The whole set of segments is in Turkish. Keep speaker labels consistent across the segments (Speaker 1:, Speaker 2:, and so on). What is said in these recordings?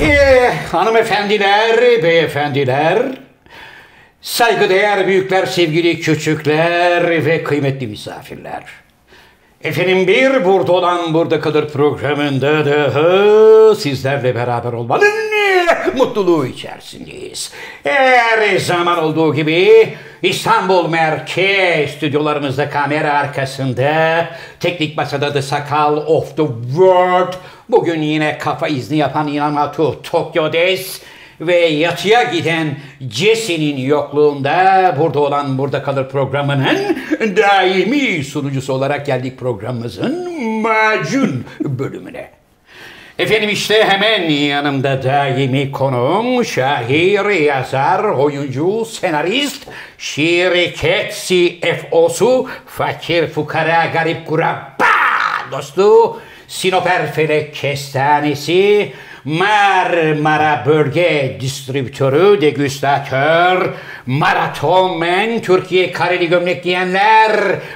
Speaker 1: Eh, hanımefendiler, beyefendiler, saygıdeğer büyükler, sevgili küçükler ve kıymetli misafirler. Efendim bir burada olan burada kalır programında da sizlerle beraber olmanın mutluluğu içerisindeyiz. Her zaman olduğu gibi İstanbul Merkez stüdyolarımızda kamera arkasında, teknik masada da sakal of the world. Bugün yine kafa izni yapan Inamatu Tokyo'des ve yatıya giden Jesse'nin yokluğunda burada olan burada kalır programının daimi sunucusu olarak geldik programımızın macun bölümüne. Efendim işte hemen yanımda daimi konuğum şair, yazar, oyuncu, senarist, şirket CFO'su, fakir, fukara, garip, kurabba dostu, Sinoper Felek Kestanesi, Marmara Bölge Distribütörü, Degüstatör, Maraton Men, Türkiye Kareli Gömlek Giyenler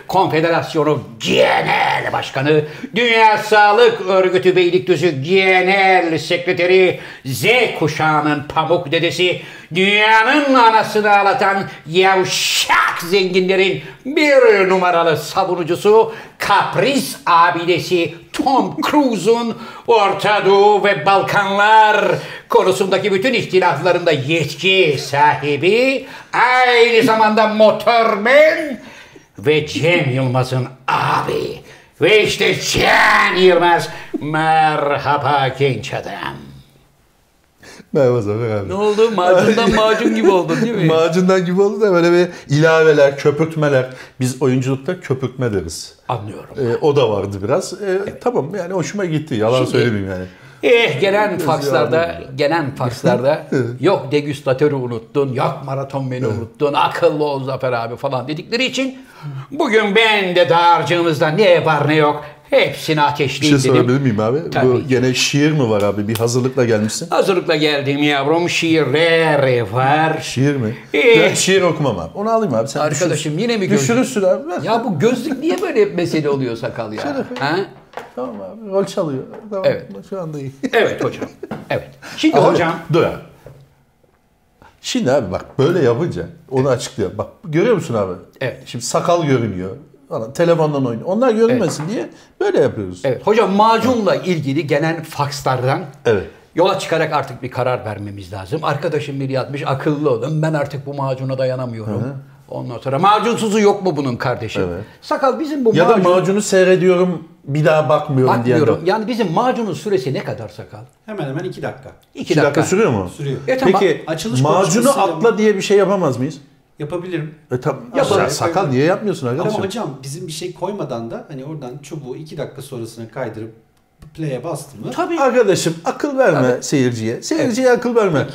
Speaker 1: Konfederasyonu Genel Başkanı, Dünya Sağlık Örgütü Beylikdüzü Genel Sekreteri, Z kuşağının pamuk dedesi, dünyanın anasını ağlatan yavşak zenginlerin bir numaralı savunucusu, kapris abidesi Tom Cruise'un Orta Doğu ve Balkanlar konusundaki bütün ihtilaflarında yetki sahibi, aynı zamanda motormen ve Cem Yılmaz'ın abi. Ve işte Cem Yılmaz. Merhaba genç adam.
Speaker 2: Merhaba Zafer abi.
Speaker 3: Ne oldu? Macundan macun gibi oldun değil mi?
Speaker 2: Macundan gibi oldu da böyle bir ilaveler, köpürtmeler. Biz oyunculukta köpürtme deriz.
Speaker 1: Anlıyorum.
Speaker 2: Ee, o da vardı biraz. Ee, Tamam yani hoşuma gitti. Yalan
Speaker 3: Şimdi-
Speaker 2: söylemeyeyim yani.
Speaker 1: Eh
Speaker 3: gelen fakslarda, gelen fakslarda yok degüstatörü unuttun, yok maraton beni unuttun, akıllı ol Zafer abi falan dedikleri için
Speaker 1: Bugün ben de dağarcığımızda ne var ne yok hepsini
Speaker 2: Bir şey
Speaker 3: Ee,
Speaker 1: ateşleyeyim dedim.
Speaker 2: sorabilir miyim abi?
Speaker 1: Tabii ki.
Speaker 2: Bu gene şiir mi var abi? Bir hazırlıkla gelmişsin.
Speaker 1: Hazırlıkla geldim yavrum şiirler var.
Speaker 2: Şiir mi?
Speaker 1: Ee,
Speaker 2: ben şiir okumam abi. Onu alayım abi. Sen
Speaker 3: arkadaşım yine mi
Speaker 2: düşün-
Speaker 3: gözlük?
Speaker 2: Düşürürsün abi. Ver.
Speaker 3: Ya bu gözlük niye böyle hep mesele oluyor sakal ya? ha?
Speaker 2: Tamam abi. Rol çalıyor. Tamam.
Speaker 3: Evet.
Speaker 2: Şu anda iyi.
Speaker 1: Evet hocam. Evet. Şimdi
Speaker 2: Abi,
Speaker 1: hocam
Speaker 2: Dur abi. Şimdi abi bak böyle yapınca onu açıklıyor. Bak görüyor musun abi?
Speaker 1: Evet.
Speaker 2: Şimdi sakal görünüyor. Falan, telefondan oynuyor. Onlar görünmesin diye böyle yapıyoruz.
Speaker 1: Evet, hocam macunla ilgili gelen fakslardan
Speaker 2: Evet.
Speaker 1: yola çıkarak artık bir karar vermemiz lazım. Arkadaşım biri yatmış akıllı olun ben artık bu macuna dayanamıyorum. Ondan sonra macunsuzu yok mu bunun kardeşim? Sakal bizim bu
Speaker 2: Ya da
Speaker 1: macun...
Speaker 2: macunu seyrediyorum bir daha bakmıyorum, diyen
Speaker 1: Bakmıyorum.
Speaker 2: de.
Speaker 1: Yani bizim macunun süresi ne kadar sakal?
Speaker 4: Hemen hemen iki dakika
Speaker 1: İki,
Speaker 2: İki dakika. sürüyor mu?
Speaker 4: sürüyor.
Speaker 1: E, tamam.
Speaker 2: Peki
Speaker 4: Açılış
Speaker 2: macunu
Speaker 4: konuşmasıyla-
Speaker 2: atla diye bir şey yapamaz mıyız?
Speaker 4: Yapabilirim.
Speaker 2: E tamam.
Speaker 4: Ya
Speaker 2: Ya
Speaker 4: bana-
Speaker 2: sakal niye yapmıyorsun
Speaker 4: Ama
Speaker 2: arkadaşım?
Speaker 4: hocam bizim bir şey koymadan da hani oradan çubuğu iki dakika sonrasına kaydırıp play'e bastın mı?
Speaker 1: Tabii.
Speaker 2: Arkadaşım akıl verme seyirciye. Seyirciye akıl verme.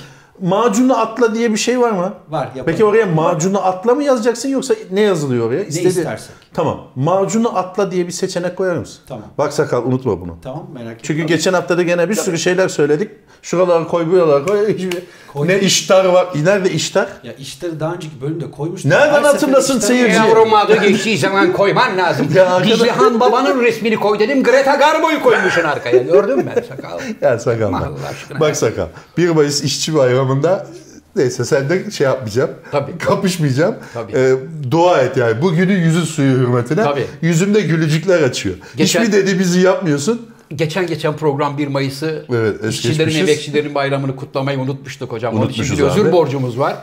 Speaker 2: Macunu atla diye bir şey var mı?
Speaker 4: Var, yapalım.
Speaker 2: Peki oraya macunu atla mı yazacaksın yoksa ne yazılıyor oraya?
Speaker 4: istersek.
Speaker 2: Tamam. Macunu atla diye bir seçenek koyar mısın?
Speaker 4: Tamam.
Speaker 2: Bak sakal unutma bunu.
Speaker 4: Tamam merak etme.
Speaker 2: Çünkü geçen hafta da gene bir sürü şeyler söyledik. Şuralara koy, buralara koy. Hiçbir-
Speaker 4: Koy.
Speaker 2: Ne iştar var? Nerede iştar?
Speaker 4: Ya işleri daha önceki bölümde koymuştum.
Speaker 2: Nereden
Speaker 4: Her
Speaker 2: hatırlasın
Speaker 4: sefer işleri-
Speaker 2: seyirci?
Speaker 1: E, Yavrum adı geçtiği zaman koyman lazım.
Speaker 2: Ya arkadaş-
Speaker 1: Dicle Han babanın resmini koy dedim. Greta Garbo'yu koymuşsun arkaya. Gördün mü ben sakal?
Speaker 2: Ya sakal bak.
Speaker 1: Allah aşkına.
Speaker 2: Bak sakal. 1 Mayıs işçi bayramında neyse sen de şey yapmayacağım.
Speaker 1: Tabii.
Speaker 2: Kapışmayacağım.
Speaker 1: Tabii.
Speaker 2: Ee, dua et yani. Bu günün yüzü suyu hürmetine.
Speaker 1: Tabii.
Speaker 2: Yüzümde gülücükler açıyor.
Speaker 1: Geçen-
Speaker 2: Hiçbir dediğimizi yapmıyorsun.
Speaker 1: Geçen geçen program 1 Mayıs'ı
Speaker 2: Evet, es
Speaker 1: işçilerin
Speaker 2: geçmişiz.
Speaker 1: emekçilerin bayramını kutlamayı unutmuştuk hocam. Onun için
Speaker 2: Unutmuşuz
Speaker 1: bir özür
Speaker 2: abi.
Speaker 1: borcumuz var.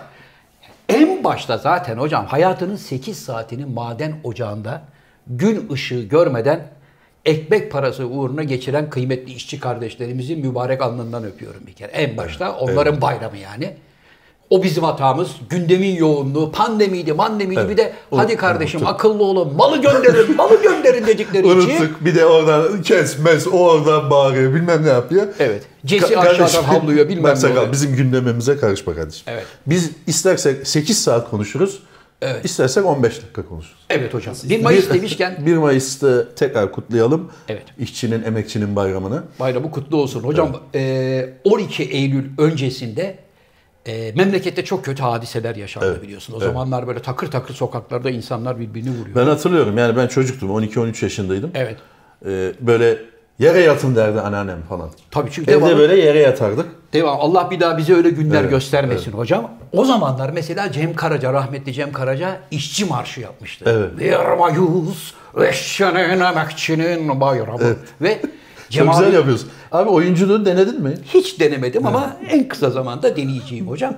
Speaker 1: En başta zaten hocam hayatının 8 saatini maden ocağında gün ışığı görmeden ekmek parası uğruna geçiren kıymetli işçi kardeşlerimizin mübarek alnından öpüyorum bir kere. En başta onların bayramı yani. O bizim hatamız. Gündemin yoğunluğu, pandemiydi, mandemiydi bir de hadi kardeşim akıllı olun, malı gönderin, malı gönderin dedikleri için
Speaker 2: Unuttuk. Bir de oradan kesmez. O oradan bağırıyor. Bilmem ne yapıyor.
Speaker 1: Evet. Cesi
Speaker 2: Ka-
Speaker 1: aşağıdan
Speaker 2: kardeşim,
Speaker 1: havlıyor, bilmem
Speaker 2: bak
Speaker 1: ne
Speaker 2: sakal,
Speaker 1: oluyor.
Speaker 2: bizim gündemimize karışma kardeşim.
Speaker 1: Evet.
Speaker 2: Biz istersek 8 saat konuşuruz. Evet. İstersek 15 dakika konuşuruz.
Speaker 1: Evet hocam. 1 Mayıs demişken
Speaker 2: 1 Mayıs'ta tekrar kutlayalım.
Speaker 1: Evet.
Speaker 2: İşçinin, emekçinin bayramını.
Speaker 1: bayramı kutlu olsun. Hocam e, 12 Eylül öncesinde e, memlekette çok kötü hadiseler yaşandı biliyorsun. O zamanlar böyle takır takır sokaklarda insanlar birbirini vuruyor.
Speaker 2: Ben hatırlıyorum yani ben çocuktum 12-13 yaşındaydım.
Speaker 1: Evet.
Speaker 2: Ee, böyle yere yatın derdi anneannem falan.
Speaker 1: Tabii çünkü
Speaker 2: Evde
Speaker 1: devamlı-
Speaker 2: böyle yere yatardık.
Speaker 1: Devam. Allah bir daha bize öyle günler göstermesin hocam. O zamanlar mesela Cem Karaca, rahmetli Cem Karaca işçi marşı yapmıştı.
Speaker 2: Evet.
Speaker 1: Bir mayus, eşenin emekçinin bayramı. Ve
Speaker 2: Çok
Speaker 1: Cem
Speaker 2: güzel
Speaker 1: abi-
Speaker 2: yapıyorsun. Abi oyunculuğu denedin mi?
Speaker 1: hiç denemedim ama en kısa zamanda deneyeceğim hocam.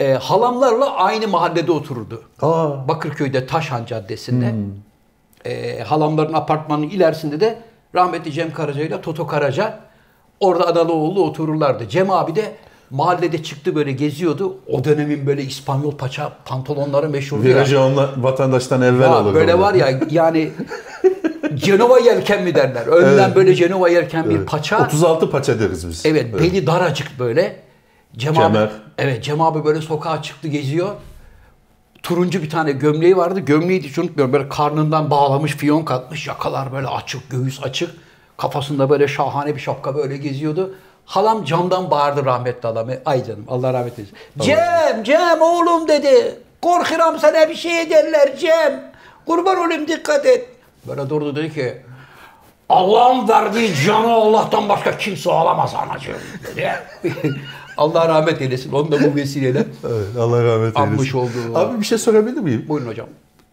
Speaker 1: Ee, halamlarla aynı mahallede otururdu.
Speaker 2: Aa. Hmm.
Speaker 1: Bakırköy'de Taşhan Caddesi'nde. Ee, halamların apartmanının ilerisinde de rahmetli Cem Karaca ile Toto Karaca orada Analıoğlu otururlardı. Cem abi de mahallede çıktı böyle geziyordu. O dönemin böyle İspanyol paça pantolonları meşhurdu. ya.
Speaker 2: Virajı onunla vatandaştan evvel
Speaker 1: Ha,
Speaker 2: olur.
Speaker 1: böyle var ya yani Cenova yelken mi derler? Önden böyle Cenova yelken bir paça.
Speaker 2: 36 paça deriz biz.
Speaker 1: Evet, beli daracık böyle. Cem
Speaker 2: Kemer.
Speaker 1: abi, evet Cem abi böyle sokağa çıktı geziyor. Turuncu bir tane gömleği vardı. Gömleği hiç unutmuyorum. Böyle karnından bağlamış, fiyon katmış. Yakalar böyle açık, göğüs açık. Kafasında böyle şahane bir şapka böyle geziyordu. Halam camdan bağırdı rahmetli halam. Ay canım Allah rahmet eylesin. Cem, Cem oğlum dedi. Korkuram sana bir şey ederler Cem. Kurban olayım dikkat et. Böyle durdu dedi ki Allah'ın verdiği canı Allah'tan başka kimse alamaz anacığım dedi. Allah rahmet eylesin. Onu da bu vesileyle.
Speaker 2: Evet, Allah rahmet eylesin.
Speaker 1: Anmış olduğu-
Speaker 2: Abi bir şey sorabilir miyim?
Speaker 1: Buyurun hocam.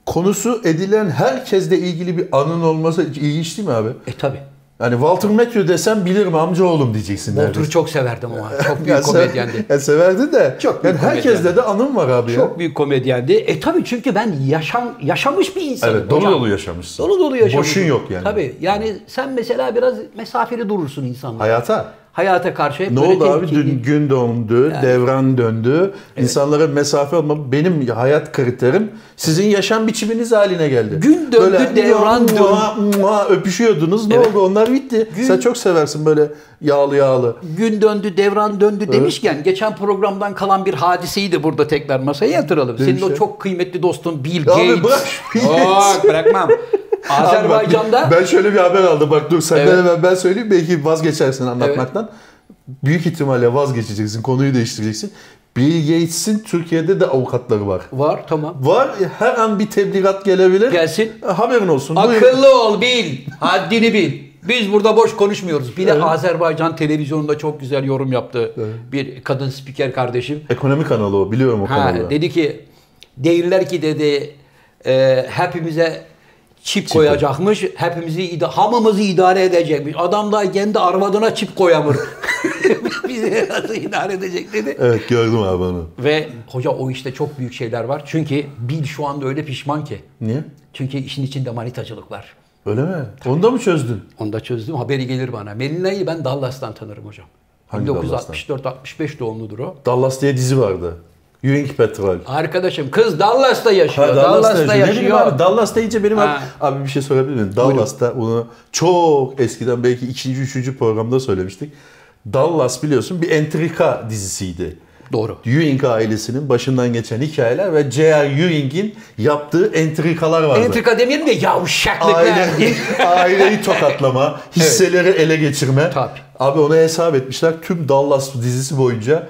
Speaker 2: Konusu edilen herkesle ilgili bir anın olması ilginç değil mi abi?
Speaker 1: E tabi.
Speaker 2: Hani Walter Matthau desem bilirim amca oğlum diyeceksin
Speaker 1: Boltur'u
Speaker 2: neredeyse.
Speaker 1: çok severdim ama. Çok
Speaker 2: Ya
Speaker 1: büyük
Speaker 2: se-
Speaker 1: komedyendi.
Speaker 2: ya severdi de.
Speaker 1: Çok
Speaker 2: yani
Speaker 1: büyük
Speaker 2: herkesle
Speaker 1: komedyendi.
Speaker 2: de anım var abi ya.
Speaker 1: Çok büyük komedyendi. E tabi çünkü ben yaşam yaşamış bir insanım
Speaker 2: Evet, dolu
Speaker 1: hocam.
Speaker 2: dolu yaşamışsın.
Speaker 1: Dolu dolu yaşamışım.
Speaker 2: Boşun yok yani.
Speaker 1: Tabi yani sen mesela biraz mesafeli durursun insanlara.
Speaker 2: Hayata.
Speaker 1: Hayata karşı hep
Speaker 2: Ne
Speaker 1: böyle
Speaker 2: oldu abi?
Speaker 1: temkinli.
Speaker 2: Dün gün döndü, devran döndü. İnsanlara mesafe olma. Benim hayat kriterim sizin yaşam biçiminiz haline geldi.
Speaker 1: Gün döndü, devran döndü.
Speaker 2: döndü. öpüşüyordunuz. Ne oldu? Onlar bitti. Sen çok seversin böyle yağlı yağlı.
Speaker 1: gün döndü, devran döndü demişken geçen programdan kalan bir hadiseyi de burada tekrar masaya yatıralım. Senin
Speaker 2: Demişler.
Speaker 1: o çok kıymetli dostun Bill
Speaker 2: Abi
Speaker 1: Gates.
Speaker 2: bırak şu Bill
Speaker 1: Aa, bırakmam. Azerbaycan'da
Speaker 2: Abi bak, Ben şöyle bir haber aldım bak dur senden
Speaker 1: Evet.
Speaker 2: hemen ben söyleyeyim belki vazgeçersin anlatmaktan. Büyük ihtimalle vazgeçeceksin, konuyu değiştireceksin. Bill Gates'in Türkiye'de de avukatları var.
Speaker 1: var tamam.
Speaker 2: Var her an bir tebligat gelebilir.
Speaker 1: Gelsin.
Speaker 2: Haberin olsun. buyurun.
Speaker 1: Akıllı ol Bil. Haddini bil. Biz burada boş konuşmuyoruz. Bir de Azerbaycan televizyonunda çok güzel yorum yaptı bir kadın spiker kardeşim.
Speaker 2: Ekonomi kanalı o biliyorum o
Speaker 1: Ha,
Speaker 2: kanalı.
Speaker 1: dedi ki değiller ki dedi e, hepimize çip koyacakmış. Hepimizi ida- hamımızı idare edecekmiş. Adam da kendi arvadına çip koyamır. Bizi nasıl idare edecek dedi.
Speaker 2: Evet gördüm abi onu.
Speaker 1: Ve hoca o işte çok büyük şeyler var. Çünkü Bil şu anda öyle pişman ki.
Speaker 2: Niye?
Speaker 1: Çünkü işin içinde manitacılık var.
Speaker 2: Öyle mi? Onu da mı çözdün?
Speaker 1: Onu da çözdüm. Haberi gelir bana. Melina'yı ben Dallas'tan tanırım hocam.
Speaker 2: Hangi
Speaker 1: 1964-65 doğumludur o.
Speaker 2: Dallas diye dizi vardı. Ewing Petrol.
Speaker 1: Arkadaşım kız Dallas'ta
Speaker 2: Ha,
Speaker 1: yaşıyor. Dallas'ta
Speaker 2: Ne bileyim
Speaker 1: yaşıyor.
Speaker 2: Abi, Dallas'ta iyice benim abi,
Speaker 1: Ha.
Speaker 2: abi bir şey sorabilir miyim? Dallas'ta onu çok eskiden belki ikinci, üçüncü programda söylemiştik. Dallas biliyorsun bir entrika dizisiydi.
Speaker 1: Doğru.
Speaker 2: Ewing ailesinin başından geçen hikayeler ve J.R. Ewing'in yaptığı entrikalar vardı.
Speaker 1: Entrika demeyelim de yavşaklıklar.
Speaker 2: Aile, aileyi tokatlama, hisseleri ele geçirme.
Speaker 1: Tabii.
Speaker 2: Abi ona hesap etmişler. Tüm Dallas dizisi boyunca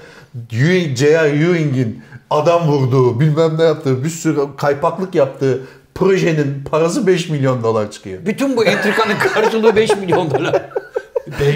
Speaker 2: Ewing- J.R. Ewing'in adam vurduğu, bilmem ne yaptığı, bir sürü kaypaklık yaptığı projenin parası 5 milyon dolar çıkıyor.
Speaker 1: Bütün bu entrikanın karşılığı 5 milyon dolar.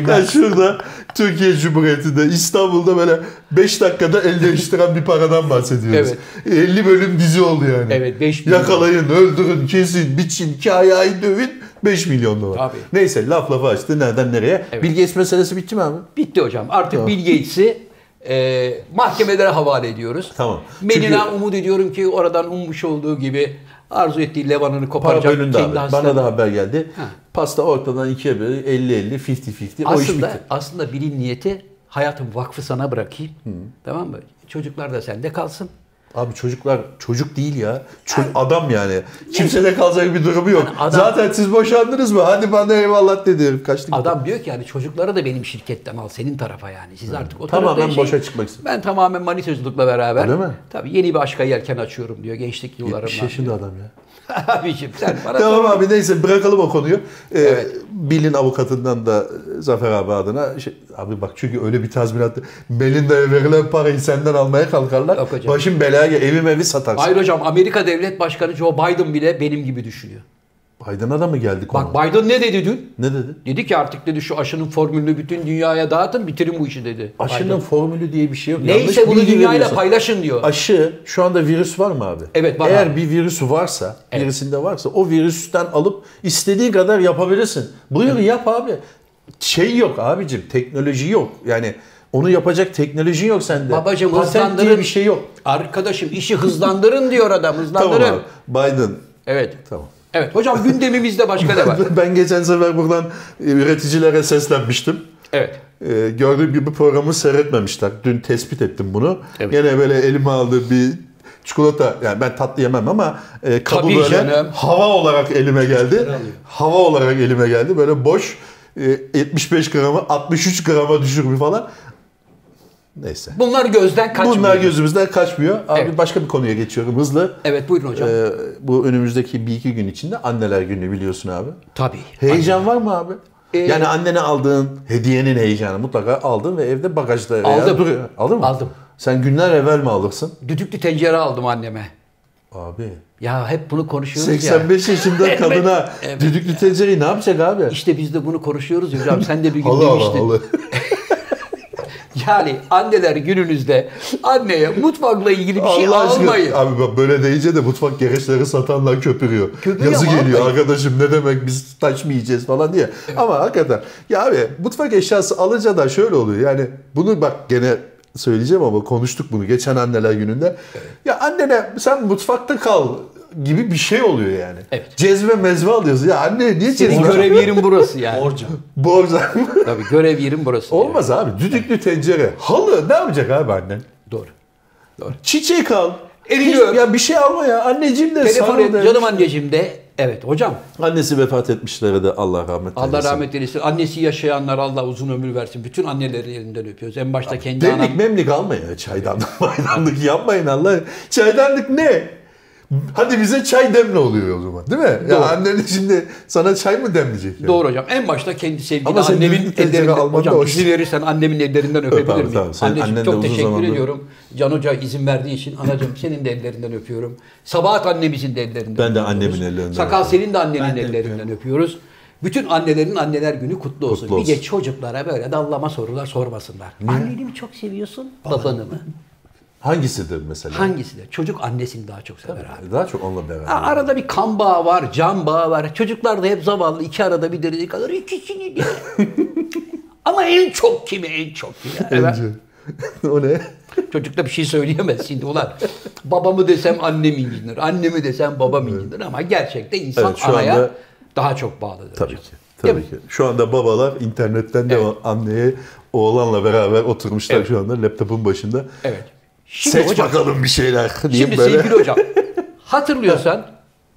Speaker 2: Ben şurada Türkiye Cumhuriyeti'nde İstanbul'da böyle 5 dakikada el değiştiren bir paradan bahsediyoruz. 50 bölüm dizi oldu yani.
Speaker 1: Evet, 5 milyon.
Speaker 2: Yakalayın, öldürün, kesin, biçin, kayayı dövün 5 milyon dolar.
Speaker 1: Tabii.
Speaker 2: Neyse laf lafa açtı nereden nereye. Bilgi es meselesi bitti mi abi?
Speaker 1: Bitti hocam. Artık Bill Gates'i e, mahkemelere havale ediyoruz.
Speaker 2: Tamam.
Speaker 1: Melina
Speaker 2: Çünkü-
Speaker 1: umut ediyorum ki oradan ummuş olduğu gibi arzu ettiği levanını
Speaker 2: Para
Speaker 1: koparacak.
Speaker 2: bölündü abi.
Speaker 1: hastalığı-
Speaker 2: Bana da haber geldi. Pasta ortadan ikiye bölü 50-50, 50-50 o iş bitti.
Speaker 1: Aslında aslında bilin niyeti hayatım vakfı sana bırakayım. Tamam mı? Çocuklar da sende kalsın.
Speaker 2: Abi çocuklar çocuk değil ya. Ço- adam yani. Kimsede kalacak bir durumu yok.
Speaker 1: Yani adam-
Speaker 2: Zaten siz boşandınız mı? Hadi bana eyvallah dedi herif. Kaçtı gitti.
Speaker 1: Adam diyor ki yani çocukları da benim şirketten al senin tarafa yani. Siz artık o
Speaker 2: Tamamen
Speaker 1: tarafta şey,
Speaker 2: boşa çıkmak istiyor.
Speaker 1: Ben tamamen manitacılıkla beraber.
Speaker 2: Öyle mi?
Speaker 1: Tabii yeni bir aşka yelken açıyorum diyor gençlik yıllarımla.
Speaker 2: 70 yaşında adam ya.
Speaker 1: Abiciğim sen bana
Speaker 2: Tamam abi neyse bırakalım o konuyu. Ee, Bill'in avukatından da e, Zafer abi adına şey, abi bak çünkü öyle bir tazminat Melinda'ya verilen parayı senden almaya kalkarlar.
Speaker 1: Yok hocam.
Speaker 2: Başım belaya gel. Evim evi satarsın.
Speaker 1: Hayır hocam Amerika Devlet Başkanı Joe Biden bile benim gibi düşünüyor.
Speaker 2: Biden'a da mı geldi konu?
Speaker 1: Bak Biden ne dedi dün?
Speaker 2: ne dedi?
Speaker 1: Dedi ki artık dedi şu aşının formülünü bütün dünyaya dağıtın bitirin bu işi dedi.
Speaker 2: Aşının
Speaker 1: Biden.
Speaker 2: formülü diye bir şey yok. Yanlış
Speaker 1: Neyse bunu
Speaker 2: bilgi
Speaker 1: dünyayla
Speaker 2: veriyorsun.
Speaker 1: paylaşın diyor.
Speaker 2: Aşı şu anda virüs var mı abi?
Speaker 1: Evet, var
Speaker 2: Eğer
Speaker 1: abi.
Speaker 2: bir virüsü varsa, birisinde varsa o virüsten alıp istediğin kadar yapabilirsin. Buyur yap abi. Şey yok abicim, teknoloji yok. Yani onu yapacak teknoloji yok sende.
Speaker 1: Babacım
Speaker 2: Patent diye
Speaker 1: hızlandırın.
Speaker 2: bir şey yok.
Speaker 1: Arkadaşım işi hızlandırın diyor adam hızlandırın.
Speaker 2: Tamam abi. Biden.
Speaker 1: Evet.
Speaker 2: Tamam.
Speaker 1: Evet hocam gündemimizde başka ne var?
Speaker 2: Ben geçen sefer buradan e, üreticilere seslenmiştim.
Speaker 1: Evet.
Speaker 2: Ee, gördüğüm gibi programı seyretmemişler. Dün tespit ettim bunu.
Speaker 1: Evet.
Speaker 2: Gene böyle elime aldığı bir çikolata, yani ben tatlı yemem ama e, kabı
Speaker 1: Tabii
Speaker 2: böyle
Speaker 1: canım.
Speaker 2: hava olarak elime geldi. Hava olarak elime geldi. Böyle boş e, 75 gramı 63 grama düşürmüş falan. Neyse.
Speaker 1: Bunlar gözden kaçmıyor.
Speaker 2: Bunlar gözümüzden kaçmıyor. Abi
Speaker 1: Evet.
Speaker 2: başka bir konuya geçiyorum hızlı.
Speaker 1: Evet buyurun hocam.
Speaker 2: Ee, bu önümüzdeki bir iki gün içinde anneler günü biliyorsun abi.
Speaker 1: Tabii.
Speaker 2: Heyecan var mı abi?
Speaker 1: Ee,
Speaker 2: yani annene aldığın hediyenin heyecanı mutlaka aldın ve evde bagajda veya
Speaker 1: Aldım.
Speaker 2: duruyor. Aldın mı?
Speaker 1: Aldım.
Speaker 2: Sen günler evvel mi alırsın?
Speaker 1: Düdüklü tencere aldım anneme.
Speaker 2: Abi
Speaker 1: Ya hep bunu konuşuyoruz ya.
Speaker 2: 85 yaşında kadına düdüklü tencereyi ne yapacak abi?
Speaker 1: İşte biz de bunu konuşuyoruz ya hocam. Sen de bir gün
Speaker 2: Halı halı
Speaker 1: demiştin.
Speaker 2: halı.
Speaker 1: Yani anneler gününüzde anneye mutfakla ilgili bir şey
Speaker 2: Allah aşkına.
Speaker 1: almayın.
Speaker 2: Abi bak böyle deyince de mutfak gereçleri satanlar köpürüyor.
Speaker 1: Köpürüyor
Speaker 2: Yazı
Speaker 1: ama
Speaker 2: geliyor
Speaker 1: almayın.
Speaker 2: arkadaşım ne demek biz taş mı yiyeceğiz falan diye. Ama hakikaten ya abi mutfak eşyası alınca da şöyle oluyor. Yani bunu bak gene söyleyeceğim ama konuştuk bunu geçen anneler gününde. Ya annene sen mutfakta kal gibi bir şey oluyor yani.
Speaker 1: Evet.
Speaker 2: Cezve mezve alıyorsun. Ya anne niye
Speaker 1: Senin
Speaker 2: cezve?
Speaker 1: görev yerin burası yani.
Speaker 4: Borca.
Speaker 2: Borca.
Speaker 1: Tabii görev yerin burası.
Speaker 2: Olmaz abi. Düdüklü tencere. Halı ne yapacak abi annen?
Speaker 1: yani. Doğru.
Speaker 2: Çiçek al.
Speaker 1: Eriyor.
Speaker 2: Hiç- Ya bir şey alma ya. Anneciğim de
Speaker 1: Telefon
Speaker 2: sarıl
Speaker 1: et,
Speaker 2: de.
Speaker 1: canım anneciğim de. Evet hocam.
Speaker 2: Annesi vefat etmişlere de Allah rahmet eylesin.
Speaker 1: Allah rahmet eylesin. Annesi yaşayanlar Allah uzun ömür versin. Bütün annelerin elinden öpüyoruz. En başta kendi anam.
Speaker 2: Demlik memlik almayın. ya. Çaydanlık maydanlık yapmayın Allah. Çaydanlık ne? Hadi bize çay demle oluyor o zaman değil mi?
Speaker 1: Doğru.
Speaker 2: Ya annen şimdi sana çay mı demleyecek? Yani?
Speaker 1: Doğru hocam. En başta kendi sevgili
Speaker 2: Ama sen
Speaker 1: annemin
Speaker 2: düzgün tencere
Speaker 1: ellerinden.
Speaker 2: alman da
Speaker 1: Hocam
Speaker 2: hoş.
Speaker 1: izin verirsen annemin ellerinden öpebilir
Speaker 2: abi,
Speaker 1: miyim?
Speaker 2: tamam. Senin annen
Speaker 1: Anneciğim
Speaker 2: de
Speaker 1: çok
Speaker 2: uzun
Speaker 1: teşekkür
Speaker 2: zamandır-
Speaker 1: ediyorum. Can Hoca izin verdiği için anacığım senin de ellerinden öpüyorum. Sabahat annemizin de ellerinden
Speaker 2: Ben de
Speaker 1: öpüyoruz.
Speaker 2: annemin ellerinden
Speaker 1: Sakal
Speaker 2: öpüyorum.
Speaker 1: senin de annenin
Speaker 4: Ben de
Speaker 1: ellerinden öpüyoruz. Bütün annelerin anneler günü kutlu olsun.
Speaker 2: Kutlu olsun.
Speaker 1: Bir de çocuklara böyle dallama sorular sormasınlar. Anneni mi çok seviyorsun, babanı mı?
Speaker 2: Hangisidir mesela?
Speaker 1: Hangisi de? Çocuk annesini daha çok sever abi.
Speaker 2: Daha çok onunla beraber.
Speaker 1: Ha, arada bir kan bağı var, can bağı var. Çocuklar da hep zavallı. iki arada bir derece kalır. İkisini de. Ama en çok kimi en çok kimi. Evet.
Speaker 2: Bence. o ne?
Speaker 1: Çocukta bir şey söyleyemez şimdi ulan. Babamı desem annem incinir, annemi desem babam incinir ama gerçekte insan
Speaker 2: Evet, şu
Speaker 1: anaya
Speaker 2: anda-
Speaker 1: daha çok bağlıdır.
Speaker 2: Tabii
Speaker 1: hocam.
Speaker 2: ki.
Speaker 1: Değil
Speaker 2: Tabii
Speaker 1: mi?
Speaker 2: ki. Şu anda babalar internetten de anneye oğlanla beraber oturmuşlar şu anda laptopun başında.
Speaker 1: Evet.
Speaker 2: Seç bakalım bir şeyler. diyeyim
Speaker 1: şimdi
Speaker 2: böyle.
Speaker 1: sevgili hocam hatırlıyorsan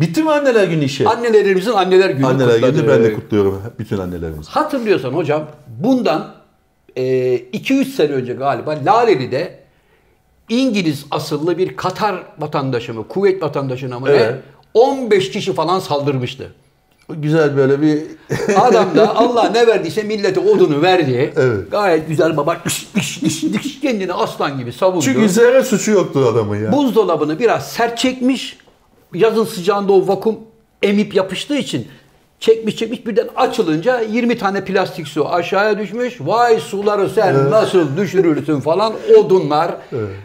Speaker 2: Bitti mi anneler günü işi?
Speaker 1: annelerimizin anneler günü
Speaker 2: anneler günü ben de
Speaker 1: kutladık.
Speaker 2: kutluyorum bütün annelerimizi.
Speaker 1: Hatırlıyorsan hocam bundan 2-3 sene önce galiba Laleli'de İngiliz asıllı bir Katar vatandaşı mı, Kuveyt vatandaşına mı
Speaker 2: Evet.
Speaker 1: ne 15 kişi falan saldırmıştı.
Speaker 2: Güzel böyle bir
Speaker 1: Adam da Allah ne verdiyse millete odunu verdi.
Speaker 2: Evet.
Speaker 1: Gayet güzel baba iş, iş, iş, iş, kendini aslan gibi savundu.
Speaker 2: çünkü zerre suçu yoktu adamın ya.
Speaker 1: Buzdolabını biraz sert çekmiş. Yazın sıcağında o vakum emip yapıştığı için çekmiş çekmiş birden açılınca 20 tane plastik su aşağıya düşmüş. Vay suları sen nasıl düşürürsün falan odunlar